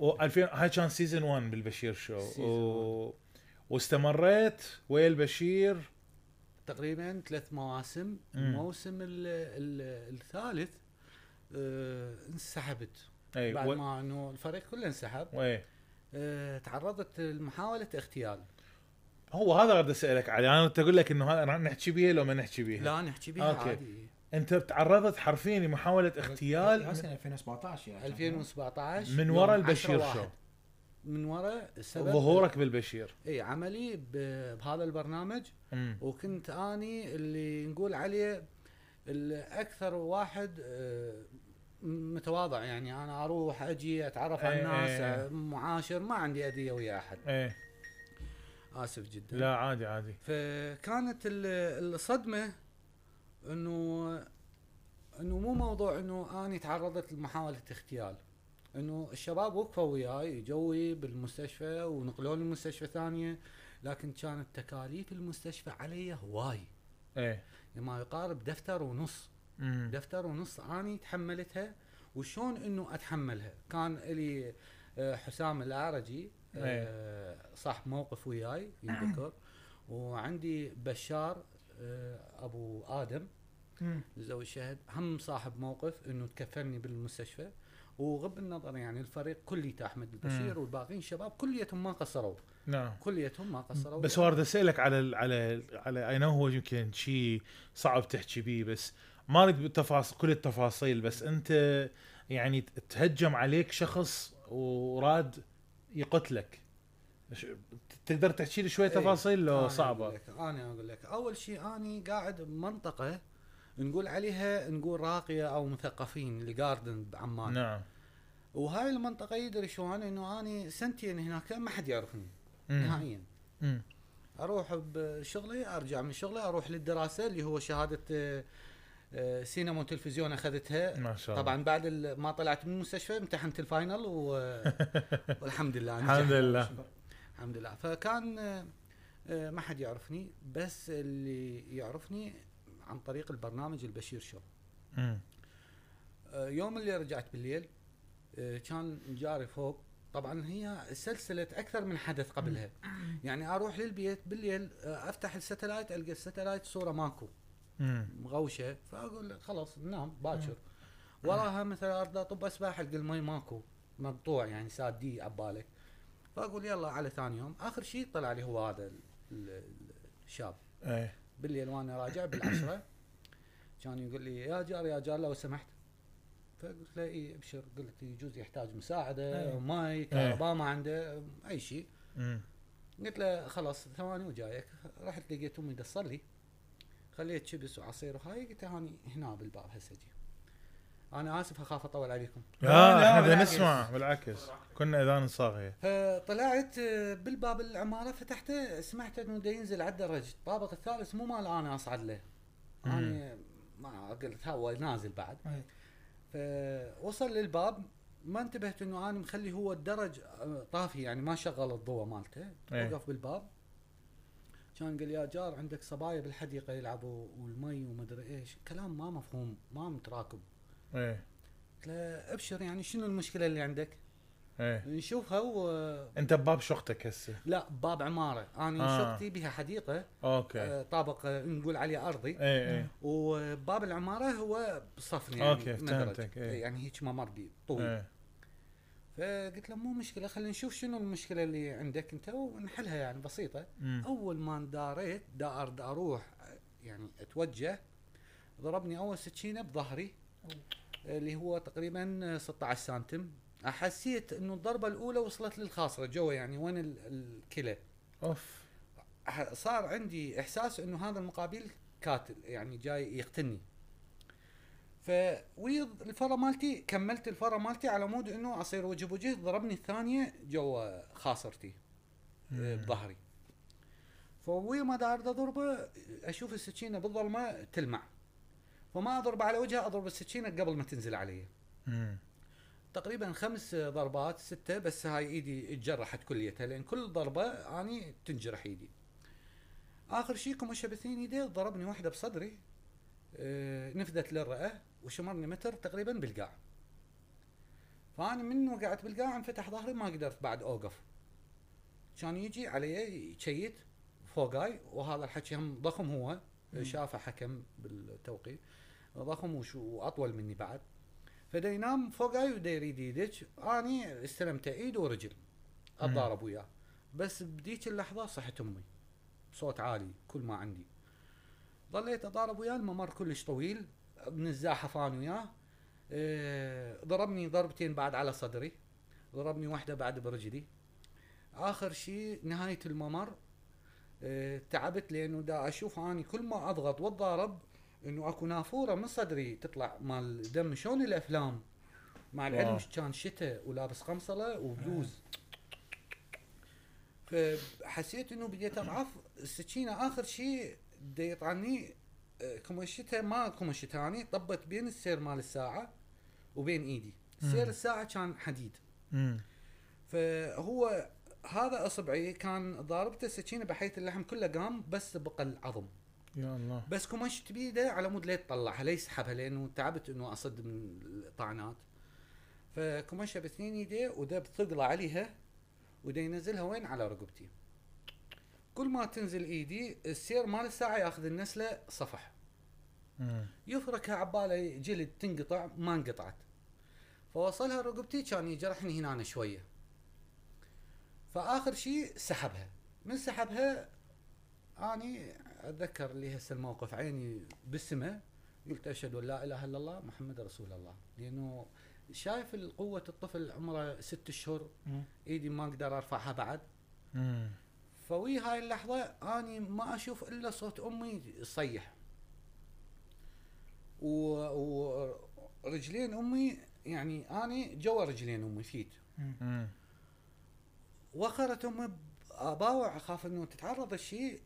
و2000 هاي كان سيزون 1 بالبشير شو و... واستمريت ويا البشير
تقريبا ثلاث مواسم
مم.
الموسم ال ال الثالث آه، انسحبت
اي
بعد
إيه، و... إيه.
ما انه الفريق كله انسحب
وإيه.
آه، تعرضت لمحاوله اغتيال
هو هذا غادي اسالك عليه انا كنت اقول لك انه هذا راح نحكي بيه لو ما نحكي بيه
لا نحكي بها
أوكي.
عادي
انت تعرضت حرفيا لمحاوله اغتيال
اغتيال 2017 يعني
2017
من
يوم
ورا
10
البشير
واحد.
شو
من ورا السبب
ظهورك بالبشير
اي عملي ب- بهذا البرنامج
أمم.
وكنت اني اللي نقول عليه الاكثر واحد آه، متواضع يعني انا اروح اجي اتعرف على
إيه،
الناس
إيه، إيه.
آه، معاشر ما عندي اذيه ويا احد
ايه
اسف جدا
لا عادي عادي
فكانت ال- الصدمه انه انه مو موضوع انه اني تعرضت لمحاوله اغتيال انه الشباب وقفوا وياي جوي بالمستشفى ونقلوني المستشفى ثانيه لكن كانت تكاليف المستشفى علي هواي يعني
ايه
ما يقارب دفتر ونص
أمم.
دفتر ونص اني تحملتها وشون انه اتحملها كان لي آه، حسام الاعرجي آه، صاح موقف وياي يذكر وعندي بشار آه، ابو ادم زوج شهد هم صاحب موقف انه تكفلني بالمستشفى وغض النظر يعني الفريق كليته احمد البشير والباقيين شباب كليتهم ما قصروا
نعم
كليتهم ما قصروا
بس وارد اسالك على ال على ال على اي نو هو يمكن شيء صعب تحكي بيه بس ما اريد بالتفاصيل كل التفاصيل بس انت يعني ت- تهجم عليك شخص وراد يقتلك ش- تقدر تحكي لي شوي
إيه.
تفاصيل لو
أنا
صعبه
أقول لك- انا اقول لك اول شيء اني قاعد بمنطقه نقول عليها نقول راقيه او مثقفين الجاردن بعمان
نعم
وهاي المنطقه يدري شو انا انه اني سنتين هناك ما حد يعرفني
مم.
نهائيا
مم.
اروح بشغلي ارجع من شغلي اروح للدراسه اللي هو شهاده آه، آه، سينما وتلفزيون اخذتها
ما شاء الله
طبعا بعد ال- ما طلعت من المستشفى امتحنت الفاينل و... والحمد لله
الحمد
نجحت.
لله
الحمد لله فكان آه، آه، ما حد يعرفني بس اللي يعرفني عن طريق البرنامج البشير شو
مم.
آه، يوم اللي رجعت بالليل آه، كان جاري فوق طبعا هي سلسله اكثر من حدث قبلها يعني اروح للبيت بالليل آه، افتح الستلايت القى الستلايت صوره ماكو
مم.
مغوشه فاقول لك خلاص نام باكر وراها مثلا ارد اطب اسبح القى المي ماكو مقطوع يعني سادي عبالك فاقول يلا على ثاني يوم اخر شيء طلع لي هو هذا ال- ال- الشاب
ايه
بالليل وانا راجع بالعشره كان يقول لي يا جار يا جار لو سمحت فقلت له اي ابشر قلت يجوز يحتاج مساعده
إيه.
مي كهرباء ما عنده اي شيء
مم.
قلت له خلاص ثواني وجايك رحت لقيت امي تصلي خليت شبس وعصير وهاي قلت له هاني هنا بالباب هسه اجي انا اسف اخاف اطول عليكم
لا،
لا
لا،
احنا آه، بدنا
بالعكس.
نسمع بالعكس كنا اذان صاغيه
فطلعت آه، بالباب العماره فتحته سمعت انه دا ينزل على الدرج الطابق الثالث مو مال انا اصعد له انا ما قلت هو نازل بعد
أي.
فوصل للباب ما انتبهت انه انا مخلي هو الدرج آه، طافي يعني ما شغل الضوء مالته
أي.
وقف بالباب كان قال يا جار عندك صبايا بالحديقه يلعبوا والمي ومدري ايش كلام ما مفهوم ما متراكب
ايه
قلت له ابشر يعني شنو المشكله اللي عندك
ايه
نشوفها و...
انت بباب شقتك هسه
لا باب عماره انا
آه.
آه. شقتي بها حديقه
اوكي
آه طابق آه، نقول عليه ارضي
ايه
آه،
ايه
وباب العماره هو صفن يعني
أوكي،
مدرج.
فهمتك، إيه.
يعني هيك ممر بي طويل
ايه
فقلت له مو مشكله خلينا نشوف شنو المشكله اللي عندك انت ونحلها يعني بسيطه
مم.
اول ما انداريت دار دا اروح يعني اتوجه ضربني اول سكينه بظهري اللي هو تقريبا 16 سنتم حسيت انه الضربه الاولى وصلت للخاصره جوا يعني وين ال- الكلى
اوف
ح- صار عندي احساس انه هذا المقابل قاتل يعني جاي يقتلني فويض الفره مالتي كملت الفره مالتي على مود انه اصير وجه بوجه ضربني الثانيه جوا خاصرتي آه، بظهري فوي ما دارد اضربه اشوف السكينه بالظلمه تلمع فما اضرب على وجهه اضرب السكينه قبل ما تنزل علي
مم.
تقريبا خمس ضربات سته بس هاي ايدي اتجرحت كليتها لان كل ضربه اني تنجرح ايدي. اخر شيء كمشه بثنين ايدي ضربني واحده بصدري آه، نفذت للرئه وشمرني متر تقريبا بالقاع. فانا من وقعت بالقاع انفتح ظهري ما قدرت بعد اوقف. كان يجي علي يشيت فوقاي وهذا الحكي هم ضخم هو شافه حكم بالتوقيت ضخم وشو- واطول مني بعد. فدا ينام فوقاي ودا يريد يدج اني استلمت ايد ورجل اتضارب وياه بس بديك اللحظه صحت امي بصوت عالي كل ما عندي ظليت اتضارب وياه الممر كلش طويل ابن الزاحف انا وياه آه، ضربني ضربتين بعد على صدري ضربني واحده بعد برجلي اخر شيء نهايه الممر آه، تعبت لانه دا اشوف اني كل ما اضغط واتضارب انه اكو نافوره من صدري تطلع مال دم شلون الافلام مع العلم
واو.
كان شتاء ولابس قمصله وبلوز فحسيت انه بديت اضعف السكينه اخر شيء دا يطعني آه، كمشتها ما كمشتها اني طبت بين السير مال الساعه وبين ايدي سير الساعه كان حديد
مم.
فهو هذا اصبعي كان ضاربته السكينه بحيث اللحم كله قام بس بقى العظم
يا الله
بس كمشت بيده على مود لا يطلعها لا يسحبها لانه تعبت انه اصد من الطعنات فكمشها باثنين ايديه ودب ثقله عليها ودا ينزلها وين على رقبتي كل ما تنزل ايدي السير مال الساعه ياخذ النسله صفح
مم.
يفركها عباله جلد تنقطع ما انقطعت فوصلها رقبتي كان يجرحني هنا شويه فاخر شيء سحبها من سحبها اني اتذكر لي هسه الموقف عيني بالسماء قلت اشهد ان لا اله الا الله محمد رسول الله لانه شايف قوه الطفل عمره ست اشهر
مم.
ايدي ما اقدر ارفعها بعد
مم.
فوي هاي اللحظة أني ما أشوف إلا صوت أمي يصيح و... ورجلين أمي يعني أني جوا رجلين أمي فيت
مم.
وخرت أمي بأباوع أخاف إنه تتعرض لشيء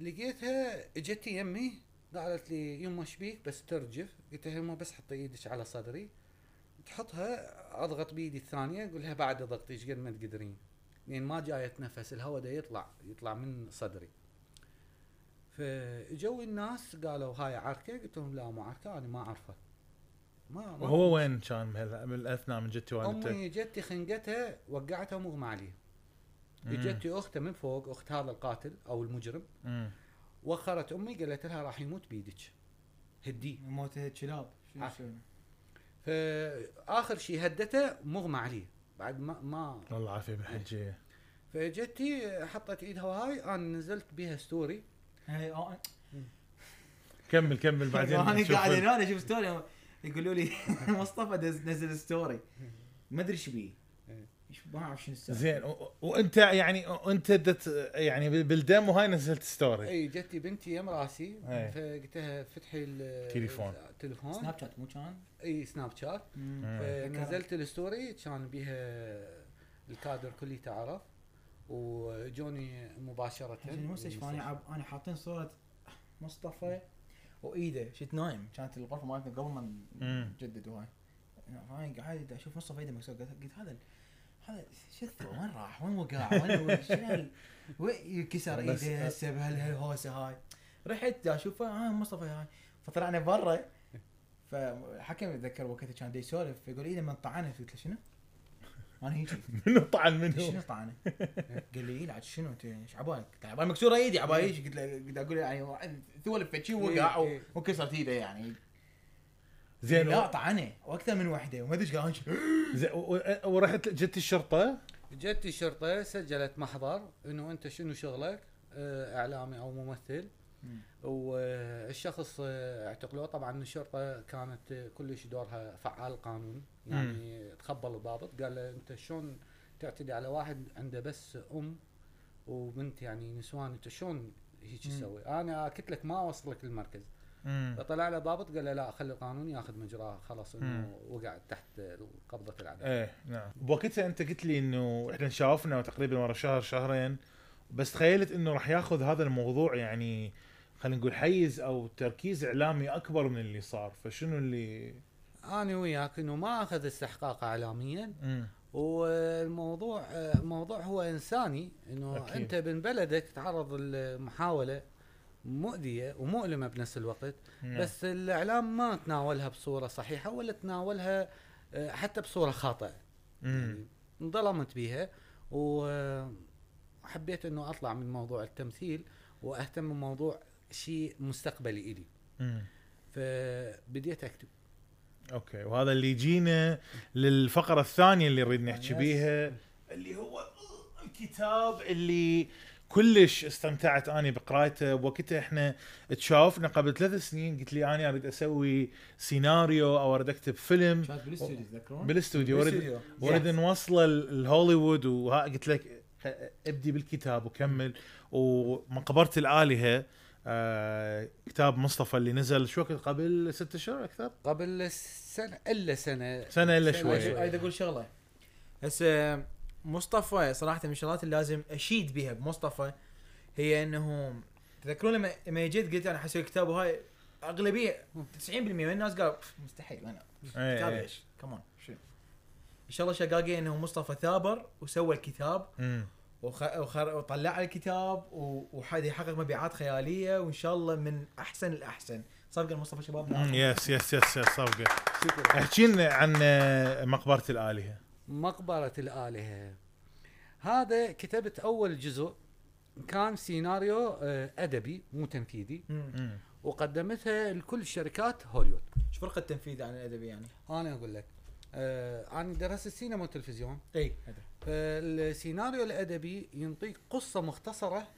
لقيتها اجتني يمي قالت لي يما شبيك بس ترجف قلت لها يما بس حطي ايدك على صدري تحطها اضغط بايدي الثانيه اقول لها بعد ضغطي ايش قد ما تقدرين لان ما جاي اتنفس الهواء دا يطلع يطلع من صدري فجو الناس قالوا هاي عركه قلت لهم لا مو عركه انا ما اعرفه ما ما
وهو وين كان بهال- بالاثناء من جدتي والدتك؟
امي جتي خنقتها وقعتها مغمى عليه
مم.
جتي اخته من فوق اخت هذا القاتل او المجرم
مم.
وخرت امي قالت لها راح يموت بيدك هديه
موت كلاب شنو
عفو.
يسوون؟
فاخر شيء هدته مغمى عليه بعد ما ما
والله عافيه بالحجيه
فجتي حطت ايدها وهاي انا نزلت بها ستوري
هاي، آه، آه.
كمل كمل بعدين
انا
نشوف
قاعد
ال-
هنا اشوف ستوري يقولوا لي مصطفى دز- نزل ستوري ما ادري ايش بيه
إيه.
إيش- ما اعرف شنو السالفه
زين و- و- وانت يعني وانت دت يعني بال- بالدم وهاي نزلت
إيه.
ستوري
اي جتي بنتي يم راسي
إي.
فقلت لها فتحي ال-
تليفون.
التليفون
سناب شات مو كان؟
اي سناب شات
مم.
مم.
إيه،
فنزلت إيه، الستوري كان بيها الكادر كله تعرف وجوني مباشره
عشان المستشفى انا عب- انا يعني حاطين صوره مصطفى وايده شت نايم كانت الغرفه مالتنا قبل ما
مم.
نجدد وهاي انا قاعد اشوف مصطفى ايده مكسور قلت قلت هذا ال- هذا شو الثوب؟ وين راح؟ وين وقع؟ وين وين- شنو هال- وين كسر
بس-
ايده هسه بهالهوسه هاي رحت دا اشوفه ها مصطفى هاي فطلعنا برا فالحكم اتذكر وقتها كان دا يسولف فيقول ايده من طعنه قلت له شنو؟ انا هيجي
منو طعن منو؟
شنو طعنه؟ قال لي يلعب شنو انت ايش عبالك؟ طيب، قلت له عبالي مكسوره ايدي عبالي ايش؟ قلت له قلت له اقول له يعني واحد ثولب فشي ووقع
إيه،
و-
إيه.
وكسرت ايده يعني
زين
لا
و-
طعنه واكثر من واحده وما ادري ايش قال
زين و- و- ورحت جت الشرطه
جت الشرطه سجلت محضر انه انت شنو شغلك آه، اعلامي او إيه، ممثل
مم.
والشخص آه، اعتقلوه طبعا الشرطه كانت آه، كلش دورها فعال قانون يعني تخبل الضابط قال له انت شلون تعتدي على واحد عنده بس ام وبنت يعني نسوان انت شلون هيك
مم.
تسوي؟ انا قلت لك ما اوصلك المركز
مم.
فطلع له ضابط قال له لا خلي القانون ياخذ مجراه خلاص
مم.
انه وقع تحت قبضه العدالة
ايه نعم بوقتها انت قلت لي انه احنا شافنا تقريبا ورا شهر شهرين بس تخيلت انه راح ياخذ هذا الموضوع يعني خلينا نقول حيز او تركيز اعلامي اكبر من اللي صار فشنو اللي
انا وياك انه ما اخذ استحقاق اعلاميا
مم.
والموضوع آه، موضوع هو انساني انه
أكيد.
انت من بلدك تعرض المحاوله مؤذيه ومؤلمه بنفس الوقت
نعم.
بس الاعلام ما تناولها بصوره صحيحه ولا تناولها آه، حتى بصوره خاطئه
مم.
يعني انظلمت بيها وحبيت انه اطلع من موضوع التمثيل واهتم بموضوع شيء مستقبلي الي
مم.
فبديت اكتب
اوكي وهذا اللي يجينا للفقره الثانيه اللي نريد نحكي
يس.
بيها اللي هو الكتاب اللي كلش استمتعت اني بقرايته بوقتها احنا تشافنا قبل ثلاث سنين قلت لي اني اريد اسوي سيناريو او اريد اكتب فيلم
كانت بالاستوديو تذكرون؟
بالاستوديو اريد
بالاستوديو.
اريد نوصله لهوليوود وقلت لك خ- ابدي بالكتاب وكمل ومن قبرت الالهه آه كتاب مصطفى اللي نزل شو وقت قبل ست اشهر اكثر
قبل سنه الا سنه
سنه الا
سنة
شوي
شوي.
اريد اقول شغله هسه آه، مصطفى صراحه من الشغلات اللي لازم اشيد بها بمصطفى هي انه تذكرون لما لما جيت قلت انا حسوي كتاب وهاي اغلبيه 90% من الناس قالوا "بف، مستحيل انا
إيه،
كتاب
إيه.
ايش؟ كمان شنو؟ ان شاء الله شقاقي انه مصطفى ثابر وسوى الكتاب
مم.
وخ... وخ... وطلع الكتاب و... وحد يحقق مبيعات خياليه وان شاء الله من احسن الاحسن صفقه مصطفى
مم،
شبابنا
يس يس يس يس صفقه
شكرا
احكي لنا عن آه، مقبره الالهه
مقبرة الآلهة هذا كتبت أول جزء كان سيناريو آه، أدبي مو تنفيذي
مم.
مم.
وقدمتها لكل شركات هوليوود
ايش فرق التنفيذ عن الادبي يعني؟
أنا أقول لك آه، أنا درست سينما والتلفزيون
اي
فالسيناريو الأدبي ينطيك قصة مختصرة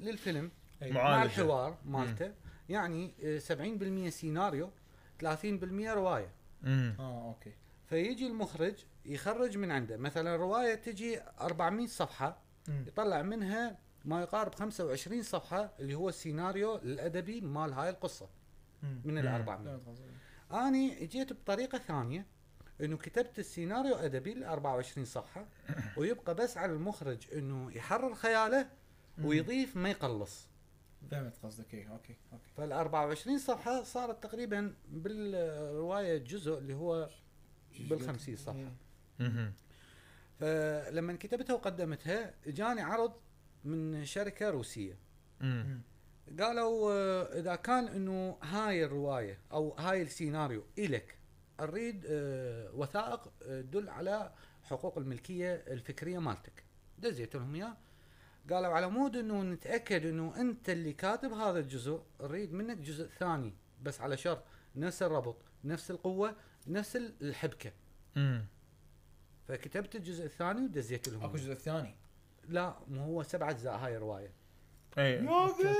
للفيلم مع
معالجة.
الحوار مالته يعني آه، 70% سيناريو 30% رواية
مم.
اه اوكي
فيجي المخرج يخرج من عنده مثلا روايه تجي 400 صفحه
مم.
يطلع منها ما يقارب 25 صفحه اللي هو السيناريو الادبي مال هاي القصه
مم.
من ال 400 اني جيت بطريقه ثانيه انه كتبت السيناريو ادبي ل 24 صفحه ويبقى بس على المخرج انه يحرر خياله ويضيف ما يقلص
فهمت قصدك إيه، اي اوكي اوكي
فال 24 صفحه صارت تقريبا بالروايه جزء اللي هو بال 50 صفحه
إيه.
مم.
فلما كتبتها وقدمتها جاني عرض من شركه روسيه
مم.
قالوا آه، اذا كان انه هاي الروايه او هاي السيناريو الك اريد آه، وثائق آه، تدل على حقوق الملكيه الفكريه مالتك دزيت لهم اياه قالوا على مود انه نتاكد انه انت اللي كاتب هذا الجزء نريد منك جزء ثاني بس على شرط نفس الربط نفس القوه نفس الحبكه
مم.
فكتبت الجزء الثاني ودزيت لهم
اكو
إياه.
جزء ثاني
لا مو هو سبع اجزاء هاي الروايه
ايه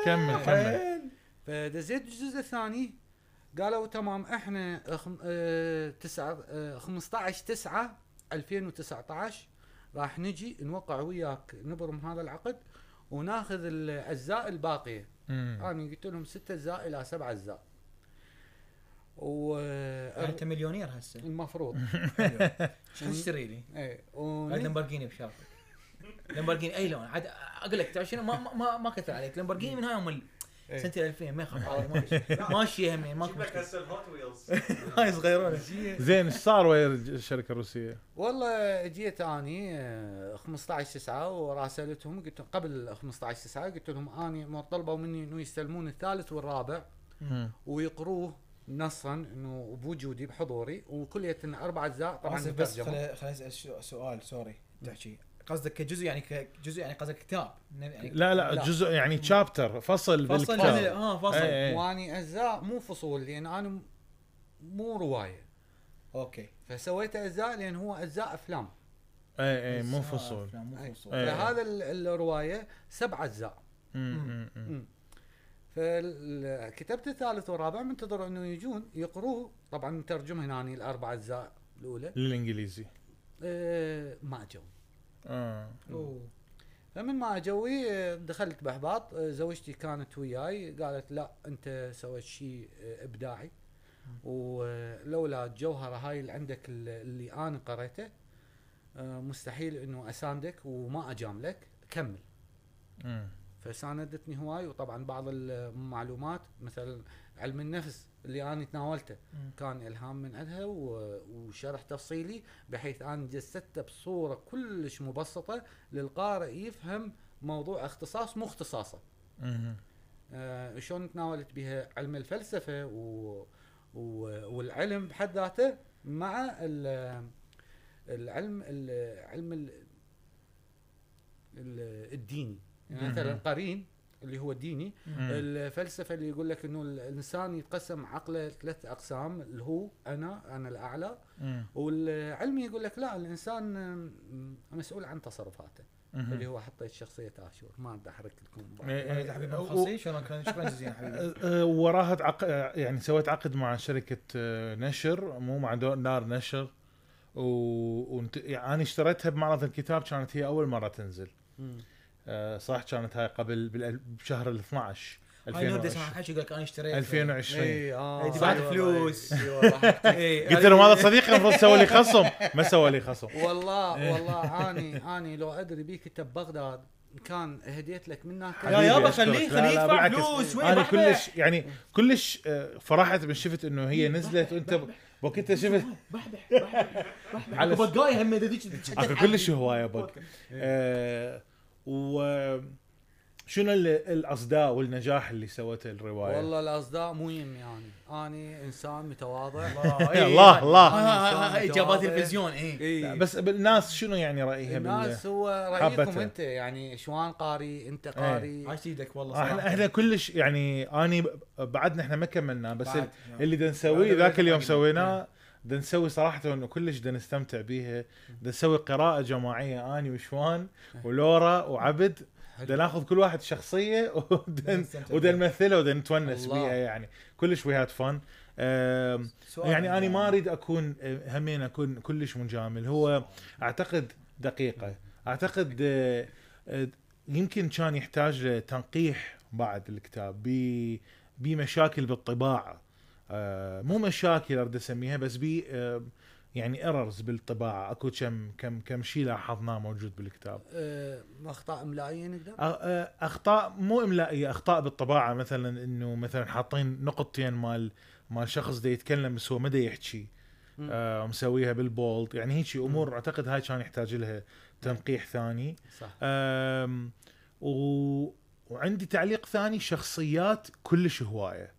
كمل كمل
فدزيت الجزء الثاني قالوا تمام احنا خم... اه... تسعة اه... 15 9 2019 راح نجي نوقع وياك نبرم هذا العقد وناخذ الاجزاء الباقيه
مم.
انا قلت لهم ست اجزاء الى سبع اجزاء و
انت يعني مليونير هسه
المفروض
شو تشتري لي؟
ايه
هاي
ون...
لمبرجيني بشرفك لمبرجيني اي لون عاد اقول لك تعرف شنو ما ما- ما ما كثر عليك لمبرجيني من هاي هم
إيه.
سنه 2000 ما يخاف عليك ما في شيء. ماشي همين ماكو
جيب لك
مشكلة.
هسه الهوت ويلز
هاي صغيرونه
زين ايش صار ويا الشركه الروسيه؟
والله جيت اني آه، 15 9 وراسلتهم قلت لهم- قبل 15 9 قلت لهم اني مو طلبوا مني انه يستلمون الثالث والرابع
مم.
ويقروه نصا انه بوجودي بحضوري وكلية اربع اجزاء طبعا
طبعا بس
مترجمة. إيه.
خل خل اسال شو- سؤال سوري تحكي قصدك كجزء يعني كجزء يعني قصدك كتاب يعني
لا
لا.
لا جزء يعني تشابتر فصل
فصل يعني
بالكتاب
اه فصل
إيه.
واني اجزاء مو فصول لان انا م- مو رواية
اوكي
فسويت اجزاء لان هو اجزاء افلام
اي اي
بس
إيه، مو
آه،
فصول
أفلام، مو
إيه.
فصول
إيه.
فهذا ال- الرواية سبع اجزاء
مم، مم، مم.
مم. فكتبت الثالث والرابع منتظر انه يجون يقروه طبعا مترجم هنا الاربع اجزاء الاولى
للانجليزي
آه، ما اجوا
اه
اوه
فمن ما اجوي آه، دخلت باحباط آه، زوجتي كانت وياي قالت لا انت سويت شيء آه، ابداعي ولولا الجوهره هاي اللي عندك اللي- اللي انا قريته آه، مستحيل انه اساندك وما اجاملك كمل
أمم.
فساندتني هواي وطبعا بعض المعلومات مثلا علم النفس اللي انا تناولته
مم.
كان الهام من عندها و- وشرح تفصيلي بحيث انا جسدته بصوره كلش مبسطه للقارئ يفهم موضوع اختصاص مو اختصاصه
أمم.
آه، شلون تناولت بها علم الفلسفه و... و... والعلم بحد ذاته مع ال... العلم العلم ال... ال... الديني يعني
مم.
مثلا قرين اللي هو ديني
أمم.
الفلسفه اللي يقول لك انه الانسان يتقسم عقله ثلاث اقسام اللي هو انا انا الاعلى
أمم.
والعلمي يقول لك لا الانسان آم، مسؤول عن تصرفاته
أمم.
اللي هو حطيت شخصيه اشور ما بدي احرق لكم بعض.
إيه،
اذا
إيه.
حبيبي
و-
مخلصين شلون كان شكرا جزيلا حبيبي
أه، أه، وراها عق... أه، يعني سويت عقد مع شركه أه، نشر مو مع دو- دار نشر و... وانت... يعني انا اشتريتها بمعرض الكتاب كانت هي اول مره تنزل
مم.
أه، صح كانت هاي قبل بال... بشهر ال 12
هاي نود اسمع
2020
حكي يقول لك انا اشتريت
2020
اي اه
إيه، دفعت
أي والله.
فلوس.
إي والله.
إيه،
قلت له هذا صديقي المفروض سوى لي خصم ما سوى لي خصم
إيه.
والله والله اني اني لو ادري بيك انت ببغداد كان هديت لك من
يا
حبيبي
هناك
يابا
أشكرك.
خليه
لا، لا،
خليه يدفع
بالعكس.
فلوس وين
انا
بحبح؟
كلش يعني كلش أه، فرحت من شفت انه هي نزلت وانت وقتها شفت
بحبح بحبح بحبح
على-
وبقاي هم ذيك
اكو كلش هوايه بق
إيه.
آه، و شنو ال- الاصداء والنجاح اللي سوته الروايه؟
والله الاصداء مو يمي اني اني انسان متواضع
إيه، الله
آه،
الله
آه، آه، آه، اجابات التلفزيون اي
لا،
إي.
بس الناس شنو يعني رايها بال
الناس هو رايكم
حبته. إيه.
انت يعني شوان قاري انت قاري
عاش ايدك والله
احنا
صراحه
احنا كلش يعني اني ب- بعدنا احنا ما كملنا بس
بعد.
ال- اللي دا نسويه
بعد-
ذاك اليوم
بعد. إيه.
سويناه دا نسوي صراحه انه كلش دا نستمتع بيها دا نسوي قراءه جماعيه اني وشوان
إيه.
ولورا وعبد دا ناخذ كل واحد شخصيه
دا
ودن
نستمتع
ودا
بيها.
نمثلها ودا نتونس
الله.
بيها يعني كلش وي هاد فن
سؤال
يعني انا ما اريد اكون آه، همين اكون كلش مجامل هو اعتقد دقيقه اعتقد آه، آه، يمكن كان يحتاج لتنقيح بعد الكتاب ب- بمشاكل بالطباعه آه، مو مشاكل اريد اسميها بس ب آه، يعني ايرورز بالطباعه اكو كم كم كم شيء لاحظناه موجود بالكتاب
آه، اخطاء املائيه نقدر
أ- أ- اخطاء مو املائيه اخطاء بالطباعه مثلا انه مثلا حاطين نقطتين مال مال شخص دا يتكلم بس هو ما دا يحكي
مم.
آه، مسويها بالبولد يعني هيك امور اعتقد هاي كان يحتاج لها تنقيح ثاني
صح
آم، و... وعندي تعليق ثاني شخصيات كلش هوايه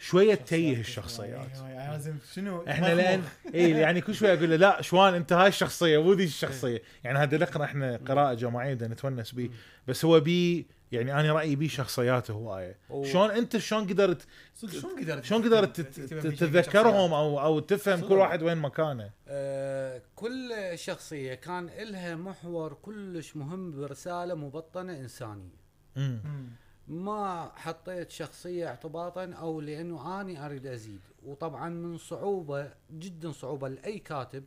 شويه تيه الشخصيات
لازم شنو
احنا لان اي يعني كل شوي اقول له لا شوان انت هاي الشخصيه مو ذي الشخصيه يعني هذا نقرا احنا قراءه جماعيه بدنا نتونس بيه بس هو بي يعني انا رايي بيه شخصيات هوايه
أوه.
شلون انت شلون قدرت
صدق شلون قدرت
شلون قدرت تت- تتذكرهم او او تفهم كل واحد وين مكانه
آه، كل شخصيه كان لها محور كلش مهم برساله مبطنه انسانيه
امم
ما حطيت شخصية اعتباطا او لانه اني اريد ازيد وطبعا من صعوبة جدا صعوبة لاي كاتب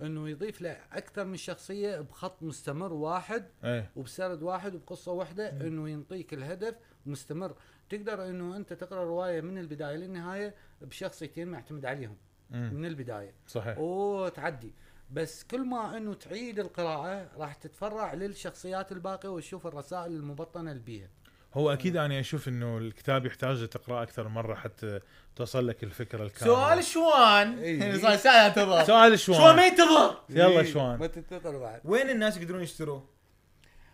انه يضيف له اكثر من شخصية بخط مستمر واحد
ايه
وبسرد واحد وبقصة واحدة انه ينطيك الهدف مستمر تقدر انه انت تقرا رواية من البداية للنهاية بشخصيتين معتمد عليهم
أمم.
من البداية
صحيح
وتعدي بس كل ما انه تعيد القراءة راح تتفرع للشخصيات الباقية وتشوف الرسائل المبطنة اللي بيها
هو اكيد انا اشوف انه الكتاب يحتاج تقراه اكثر مره حتى توصل لك الفكره الكامله
سؤال شوان
إي.
صار ساعه انتظر
سؤال
شوان ما
شوان
ينتظر
يلا
إيه،
شوان
ما تنتظر بعد
وين الناس يقدرون يشتروه؟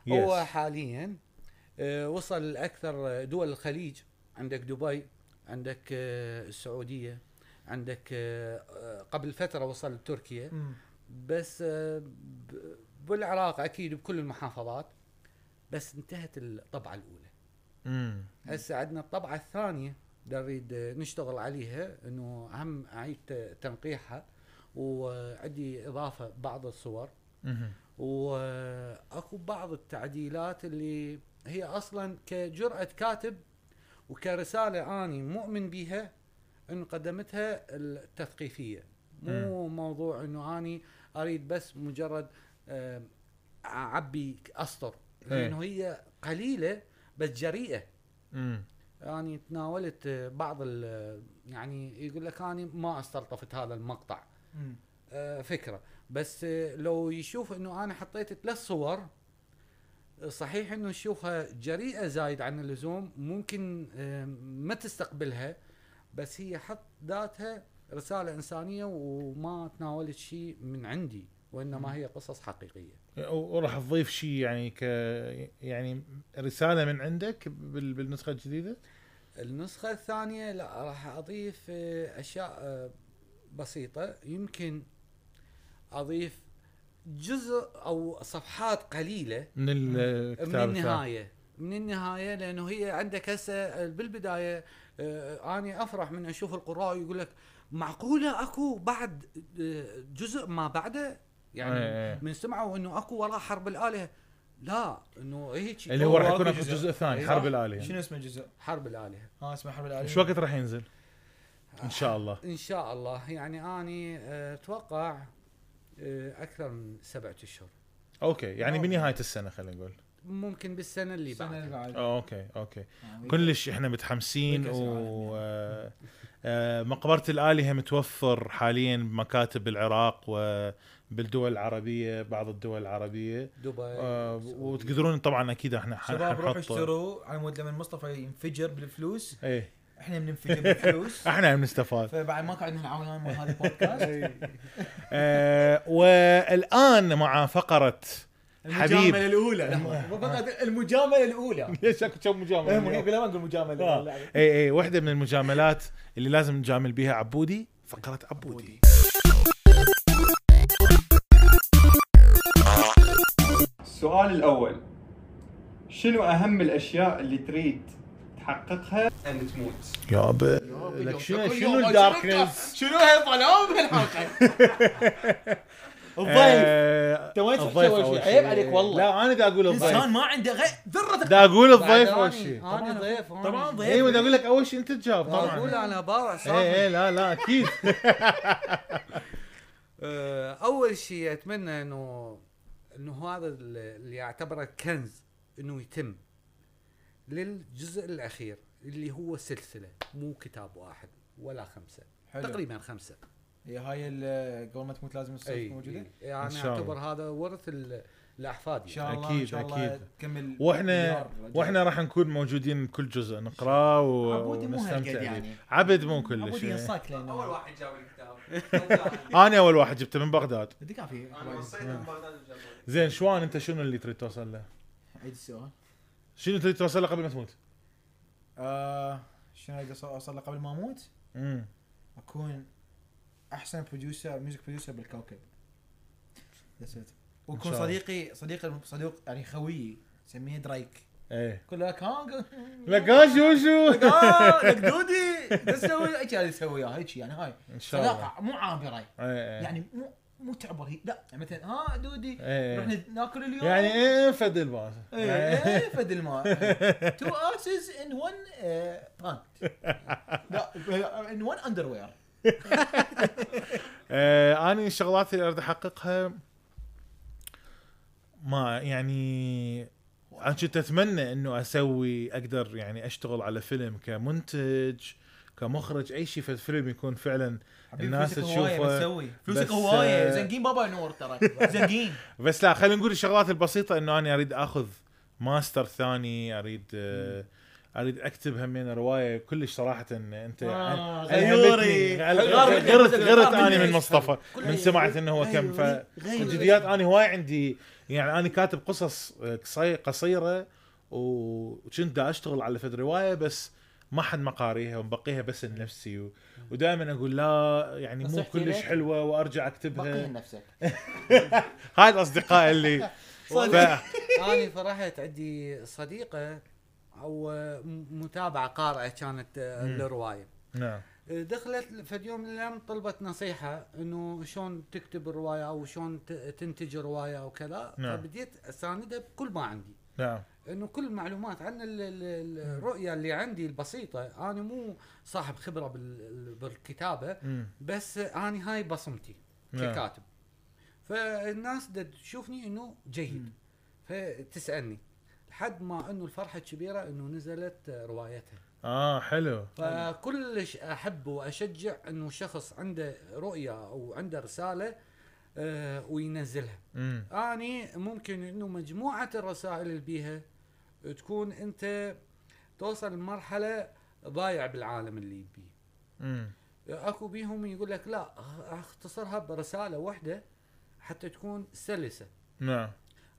هو
يس
حاليا آه، وصل لاكثر دول الخليج عندك دبي عندك آه، السعوديه عندك آه، آه، قبل فتره وصل لتركيا بس آه، ب- بالعراق اكيد بكل المحافظات بس انتهت الطبعه الاولى
أمم.
هسه عندنا الطبعه الثانيه نريد آه، نشتغل عليها انه هم اعيد ت- تنقيحها وعندي اضافه بعض الصور
أمم.
واكو بعض التعديلات اللي هي اصلا كجرأة كاتب وكرساله اني مؤمن بها انه قدمتها التثقيفيه مو موضوع انه اني اريد بس مجرد آه، اعبي اسطر لانه هي قليله بس جريئه
مم.
اني تناولت آه، بعض ال- يعني يقول لك اني ما استلطفت هذا المقطع
مم.
آه، فكره بس آه، لو يشوف انه انا حطيت ثلاث صور آه، صحيح انه نشوفها جريئه زايد عن اللزوم ممكن آه، ما تستقبلها بس هي حط ذاتها رساله انسانيه وما تناولت شيء من عندي وانما هي قصص حقيقيه
و- وراح تضيف شيء يعني ك يعني رساله من عندك بال... بالنسخه الجديده
النسخة الثانية لا راح أضيف آه، أشياء آه، بسيطة يمكن أضيف جزء أو صفحات قليلة
من الكتاب
من
الثاني.
النهاية من النهاية لأنه هي عندك هسه بالبداية آه، أنا أفرح من أشوف القراء يقول لك معقولة أكو بعد آه، جزء ما بعده يعني
إيه، إيه.
من سمعوا انه اكو وراه حرب الالهه لا انه هيك
اللي هو راح
هو
يكون
أكو
اخر
جزء.
جزء ثاني
إيه.
حرب الالهه
شنو اسم الجزء؟
حرب الالهه
اه اسمه حرب العالمين
ايش إيه. وقت راح ينزل؟ ان شاء الله
ان شاء الله يعني اني آه، اتوقع آه، اكثر من سبعة اشهر
اوكي يعني بنهايه السنه خلينا نقول
ممكن بالسنه اللي
السنة اللي
بعدها
بعد
أوه، اوكي اوكي
آه،
كلش احنا متحمسين
ويكاس
و آه، آه، مقبره الالهه متوفر حاليا بمكاتب العراق وبالدول العربيه بعض الدول العربيه
دبي
آه،
السعودية.
وتقدرون طبعا اكيد احنا ح-
شباب روحوا
حنحط-
اشتروا على مود لما مصطفى ينفجر بالفلوس
ايه
احنا بننفجر بالفلوس
احنا بنستفاد
فبعد ما قعدنا نعاون وياهم هذا البودكاست
آه، والان مع فقره حبيب
المجامله الاولى فقط المجامله الاولى
ليش اكو كم
إيه، مو هي
مجامله
بلا ما نقول مجامله
آه.
لا، لا.
اي اي واحده من المجاملات اللي لازم نجامل بيها عبودي فقره عبودي
السؤال الأول شنو أهم الأشياء اللي تريد تحققها
ان تموت
يا ابا لك شنو شنو الداركنس
شنو هالظلام بالحلقه الضيف
آه،
انت وين تروح
الضيف
تسوي
أول
شيء؟
شيء.
عيب عليك والله.
لا انا دا اقول الضيف
انسان ما عنده غير ذره
دا اقول
بعد
الضيف
أني-
اول شيء
اني ضيف أني-
طبعاً آه، ضيف.
ايوه دا اقول لك اول شيء انت تجاوب
اقول
طبعا
انا بارع صار
اي اي لا لا اكيد
آه، اول شيء اتمنى انه انه هذا ال- اللي يعتبره كنز انه يتم للجزء الاخير اللي هو سلسله مو كتاب واحد ولا خمسه
تقريبا
تقريبا خمسه
هي هاي ال- قبل ما تموت لازم السلف موجوده ان
يعني
إن شاء الله.
اعتبر هذا ورث ال- الاحفاد يعني.
شاء الله ان
أكيد،
شاء الله
أكيد.
تكمل
واحنا
مليار رجال.
واحنا راح نكون موجودين بكل جزء نقراه و-
عبودي مو هالقد
ونستمتع
يعني.
يعني. عبد مو كلش
عبودي
إيه.
ينصاك
اول
لانه
واحد جاب الكتاب
انا اول واحد جبته من بغداد
صدق ما في
انا وصيت من بغداد وجابوني.
زين شوان انت شنو اللي تريد توصل له؟
عيد السؤال
شنو تريد توصل له قبل ما تموت؟
آه، شنو اريد أوصل- اوصل له قبل ما اموت؟
امم
اكون احسن بروديوسر ميوزك بروديوسر بالكوكب That's it.
شاء
واكون
الله.
صديقي صديق صديق يعني خويي سميه درايك
ايه
كل لك ها
لقاش وشو
آه، لك دودي شو تسوي؟ هيك هذا يسوي وياه هيك يعني هاي
ان شاء الله
صداقه مو عابره
ايه يعني
يعني مو مو تعبر هي لا يعني مثلا ها دودي
إيه.
رحنا ناكل اليوم
يعني ايه فد الباس
ايه إيه، فد الماء تو اسز ان ون بانت آه، لا ان ون اندر وير
آه انا الشغلات اللي اريد احققها ما يعني انا كنت اتمنى انه اسوي اقدر يعني اشتغل على فيلم كمنتج كمخرج اي شيء في الفيلم يكون فعلا الناس تشوفه
تسوي
بس،
فلوسك هوايه
آه،
زنقين بابا نور ترى زنقين
بس لا خلينا نقول الشغلات البسيطه انه انا اريد اخذ ماستر ثاني اريد آه اريد اكتب همين روايه كلش صراحه انت
آه،
يعني
غيوري.
ألهمتني.
غار
غرت
مني.
غرت غرت
غار مني.
اني من مصطفى
كله
من سمعت انه هو كم ف الجديات انا هواي عندي يعني انا كاتب قصص آه، قصي- قصيره وكنت دا اشتغل على فد روايه بس ما حد ما قاريها ومبقيها بس لنفسي و... ودائما اقول لا يعني مو
نصيحتي
كلش
لك.
حلوه وارجع اكتبها
بقي نفسك
هاي الاصدقاء اللي ف...
انا فرحت عندي صديقه او م- متابعه قارئه كانت آه،
مم.
الروايه
نعم
آه، دخلت في يوم من الايام طلبت نصيحه انه شلون تكتب الروايه او شلون ت- تنتج روايه او كذا
نعم.
فبديت اساندها بكل ما عندي
نعم
انه كل المعلومات عن ال- ال- الرؤيه اللي عندي البسيطه انا مو صاحب خبره بال- بالكتابه
مم.
بس انا هاي بصمتي
نعم.
ككاتب فالناس دا تشوفني انه جيد فتسالني لحد ما انه الفرحه الكبيره انه نزلت روايتها
اه حلو
فكلش احب واشجع انه شخص عنده رؤيه او عنده رساله آه، وينزلها
امم
اني ممكن انه مجموعه الرسائل اللي بيها تكون انت توصل لمرحله ضايع بالعالم اللي بيه
امم
اكو بيهم يقول لك لا اختصرها برساله واحده حتى تكون سلسه
نعم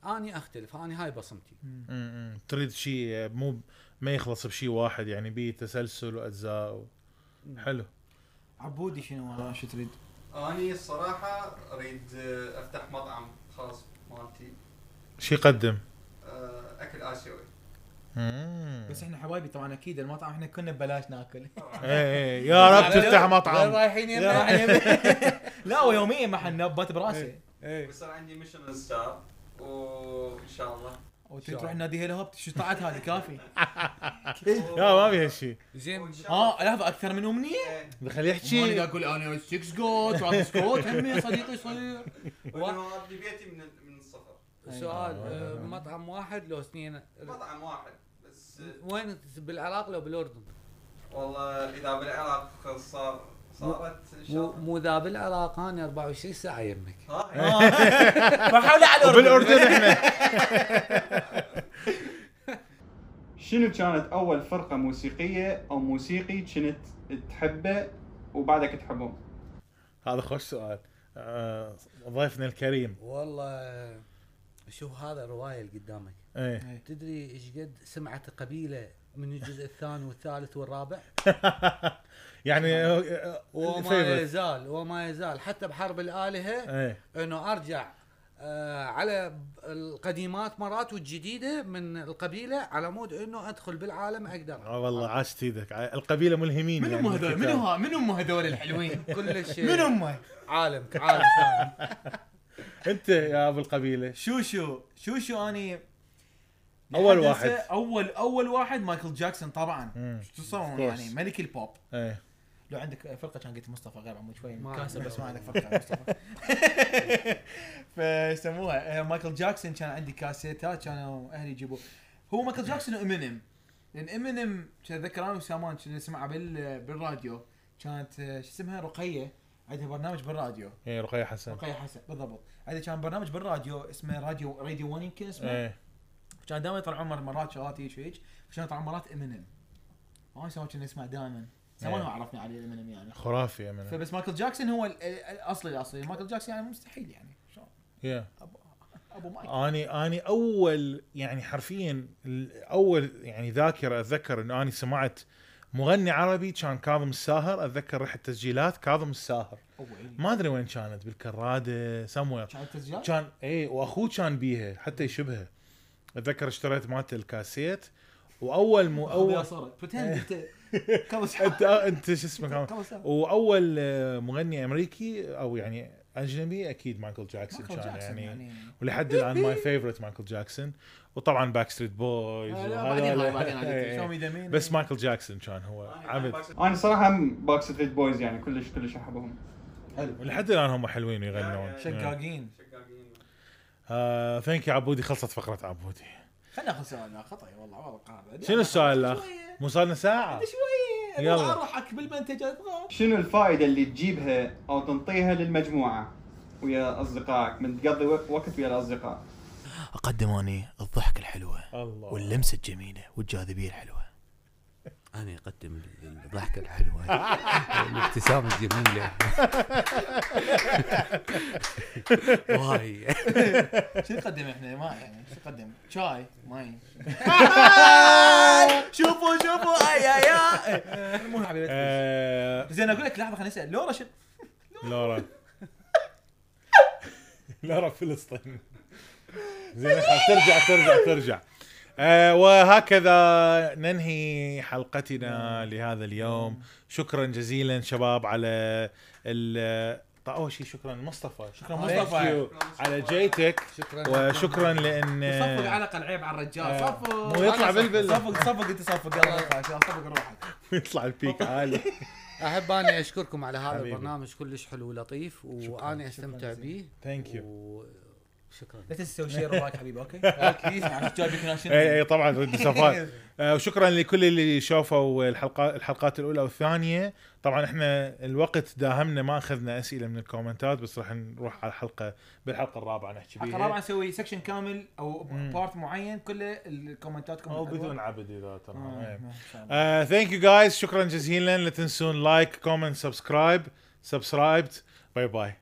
اني اختلف اني هاي بصمتي
امم تريد شيء مو ما يخلص بشيء واحد يعني بيه تسلسل واجزاء و... حلو
عبودي شنو
آه،
ها شو تريد؟
اني الصراحه اريد آه، افتح مطعم خاص مالتي
شو يقدم؟
آه، اكل اسيوي
امم
بس احنا حبايبي طبعا اكيد المطعم احنا كنا ببلاش ناكل
ايه إيه، يا رب تفتح
وين
مطعم
رايحين يمنا؟
لا ويوميا محل نبات
إيه.
براسي
ويصير عندي ميشن ستار وان شاء الله
وتريد تروح نادي هيلوبت شو طلعت هذه كافي
لا ما في هالشيء
زين
وإن شاء الله-
اه لحظه اكثر من امنيه
إيه،
خليه
انا
يحكي
اقول انا 6 جوت وعطس كوت همي صديقي صغير
وإنه ابني بيتي من ال- من الصفر
سؤال آه، مطعم واحد لو اثنين
مطعم واحد بس آه،
وين بالعراق لو بالاردن؟
والله اذا بالعراق صار صارت ان شاء
مو
الله
مو ذا بالعراق انا 24 ساعه يمك
ها
فحول على
بالاردن احنا
شنو كانت اول فرقه موسيقيه او موسيقي كنت تحبه وبعدك تحبهم
هذا خوش سؤال آه، ضيفنا الكريم
والله شوف هذا الروايه اللي قدامك
ايه
تدري ايش قد سمعت قبيله من الجزء الثاني والثالث والرابع
يعني آه، آه،
وما
favorite.
يزال وما يزال حتى بحرب الالهه
ايه
انه ارجع آه على ب- القديمات مرات والجديده من القبيله على مود انه ادخل بالعالم اقدر
اه والله عاشت ايدك ع- القبيله ملهمين
من
يعني
هم هذول من
بالكتاب.
هم من هم هذول الحلوين
كلش
من هم
عالم عالم ثاني
انت يا ابو القبيله
شو شو شو شو اني
أول
لحد
واحد.
هسه اول اول واحد مايكل جاكسون طبعا
مم.
شو تصورون
Of course.
يعني ملك البوب
ايه
لو عندك فرقه كان قلت مصطفى غير عمود شوي
ما
مكاسب
عندي.
بس ما عندك فرقه عن مصطفى فسموها آه، مايكل جاكسون كان عندي كاسيتات كانوا اهلي يجيبوا هو مايكل جاكسون وامينيم لان امينيم اتذكر انا وسامان كنا نسمعه بال بالراديو كانت آه، شو اسمها رقيه عندها برنامج بالراديو
ايه رقيه حسن
رقيه حسن بالضبط عندها كان برنامج بالراديو اسمه راديو راديو 1 يمكن اسمه
ايه
كان دائما يطلعون مر- مرات شغلات هيك هيك فكان يطلعون مرات امينيم وانا سامان كنا نسمع دائما سامان
إيه.
هو عرفني عليه امينيم يعني
خرافي يا من
فبس مايكل جاكسون هو ال- ال- الاصلي الاصلي مايكل جاكسون يعني مستحيل يعني شلون
يا
ابو ابو مايك
اني اني اول يعني حرفيا ال- اول يعني ذاكره اتذكر انه اني سمعت مغني عربي كان كاظم الساهر اتذكر رحت تسجيلات كاظم الساهر
اول
ما ادري وين كانت بالكراده سموير
شعر التسجيلات
كان اي واخوه كان بيها حتى يشبهه اتذكر اشتريت مالته الكاسيت واول مو
اول
اول
صورك بتند انت كبس
انت انت شو اسمك
كبس ما
واول آه، مغني امريكي او يعني اجنبي اكيد مايكل جاكسون كان
جاكسون
يعني,
يعني
ولحد الان ماي فيفورت مايكل جاكسون وطبعا باك ستريت بويز
لا، آه، لا،
وهذا-
بعدين هاي
لا.
بعدين هاي آه،
إيه.
شلون يدمين
بس مايكل جاكسون كان هو
يعني
أنا- أنا
عبد
باكس-
انا صراحه باك ستريت بويز يعني كلش كلش احبهم
ولحد الان هم حلوين يغنون إيه.
يا-
شقاقين
شقاقين
ثانك يو عبودي خلصت فقره عبودي
خلينا ناخذ سؤال لا خطأ والله والله قاعد
شنو السؤال الاخ؟
شوية.
مو صار لنا ساعه
شوي
يلا.
يلا اروحك بالمنتجات غلط.
شنو الفائده اللي تجيبها او تنطيها للمجموعه ويا اصدقائك من تقضي وق- وقت ويا الاصدقاء
أقدم أني الضحك الحلوة
الله
واللمسة الجميلة والجاذبية الحلوة
انا اقدم الضحكه الحلوه الابتسامه الجميله واي
شو نقدم احنا ما يعني شو نقدم شاي ماي
شوفوا شوفوا أي أي أي
مو حبيبي
آه،
زين اقول لك لحظه خليني اسال لورا شنو
لورا لورا فلسطين زين خلاص ترجع ترجع ترجع آه وهكذا ننهي حلقتنا لهذا اليوم شكرا جزيلا شباب على ال- طيب، اول شيء شكرا لمصطفى شكرا
مصطفى.
مصطفى على جيتك
شكرا
وشكرا لان
صفق علقه العيب على الرجال
آه.
صفق
مو يطلع بالبل.
صفق صفق انت صفق يلا يطلع عشان صفق روحك
يطلع البيك عالي
احب انا اشكركم على هذا
حبيبي.
البرنامج كلش حلو ولطيف وانا استمتع به
ثانك يو
وشكرا
لا تنسى تسوي شير وراك حبيبي اوكي
اكيد عشان جايبك ناشن
اي اي طبعا رد سفار آه، وشكرا لكل اللي شافوا الحلقات الحلقات الاولى والثانيه طبعا احنا الوقت داهمنا ما اخذنا اسئله من الكومنتات بس راح نروح على الحلقه بالحلقه الرابعه نحكي
حلقه رابعه
بيها
نسوي سكشن كامل او بارت معين كله الكومنتات
او بدون عبد اذا
آه،
ترى إيه. آه،
بدون
ثانك يو جايز شكرا جزيلا لا تنسون لايك كومنت سبسكرايب سبسكرايبد باي باي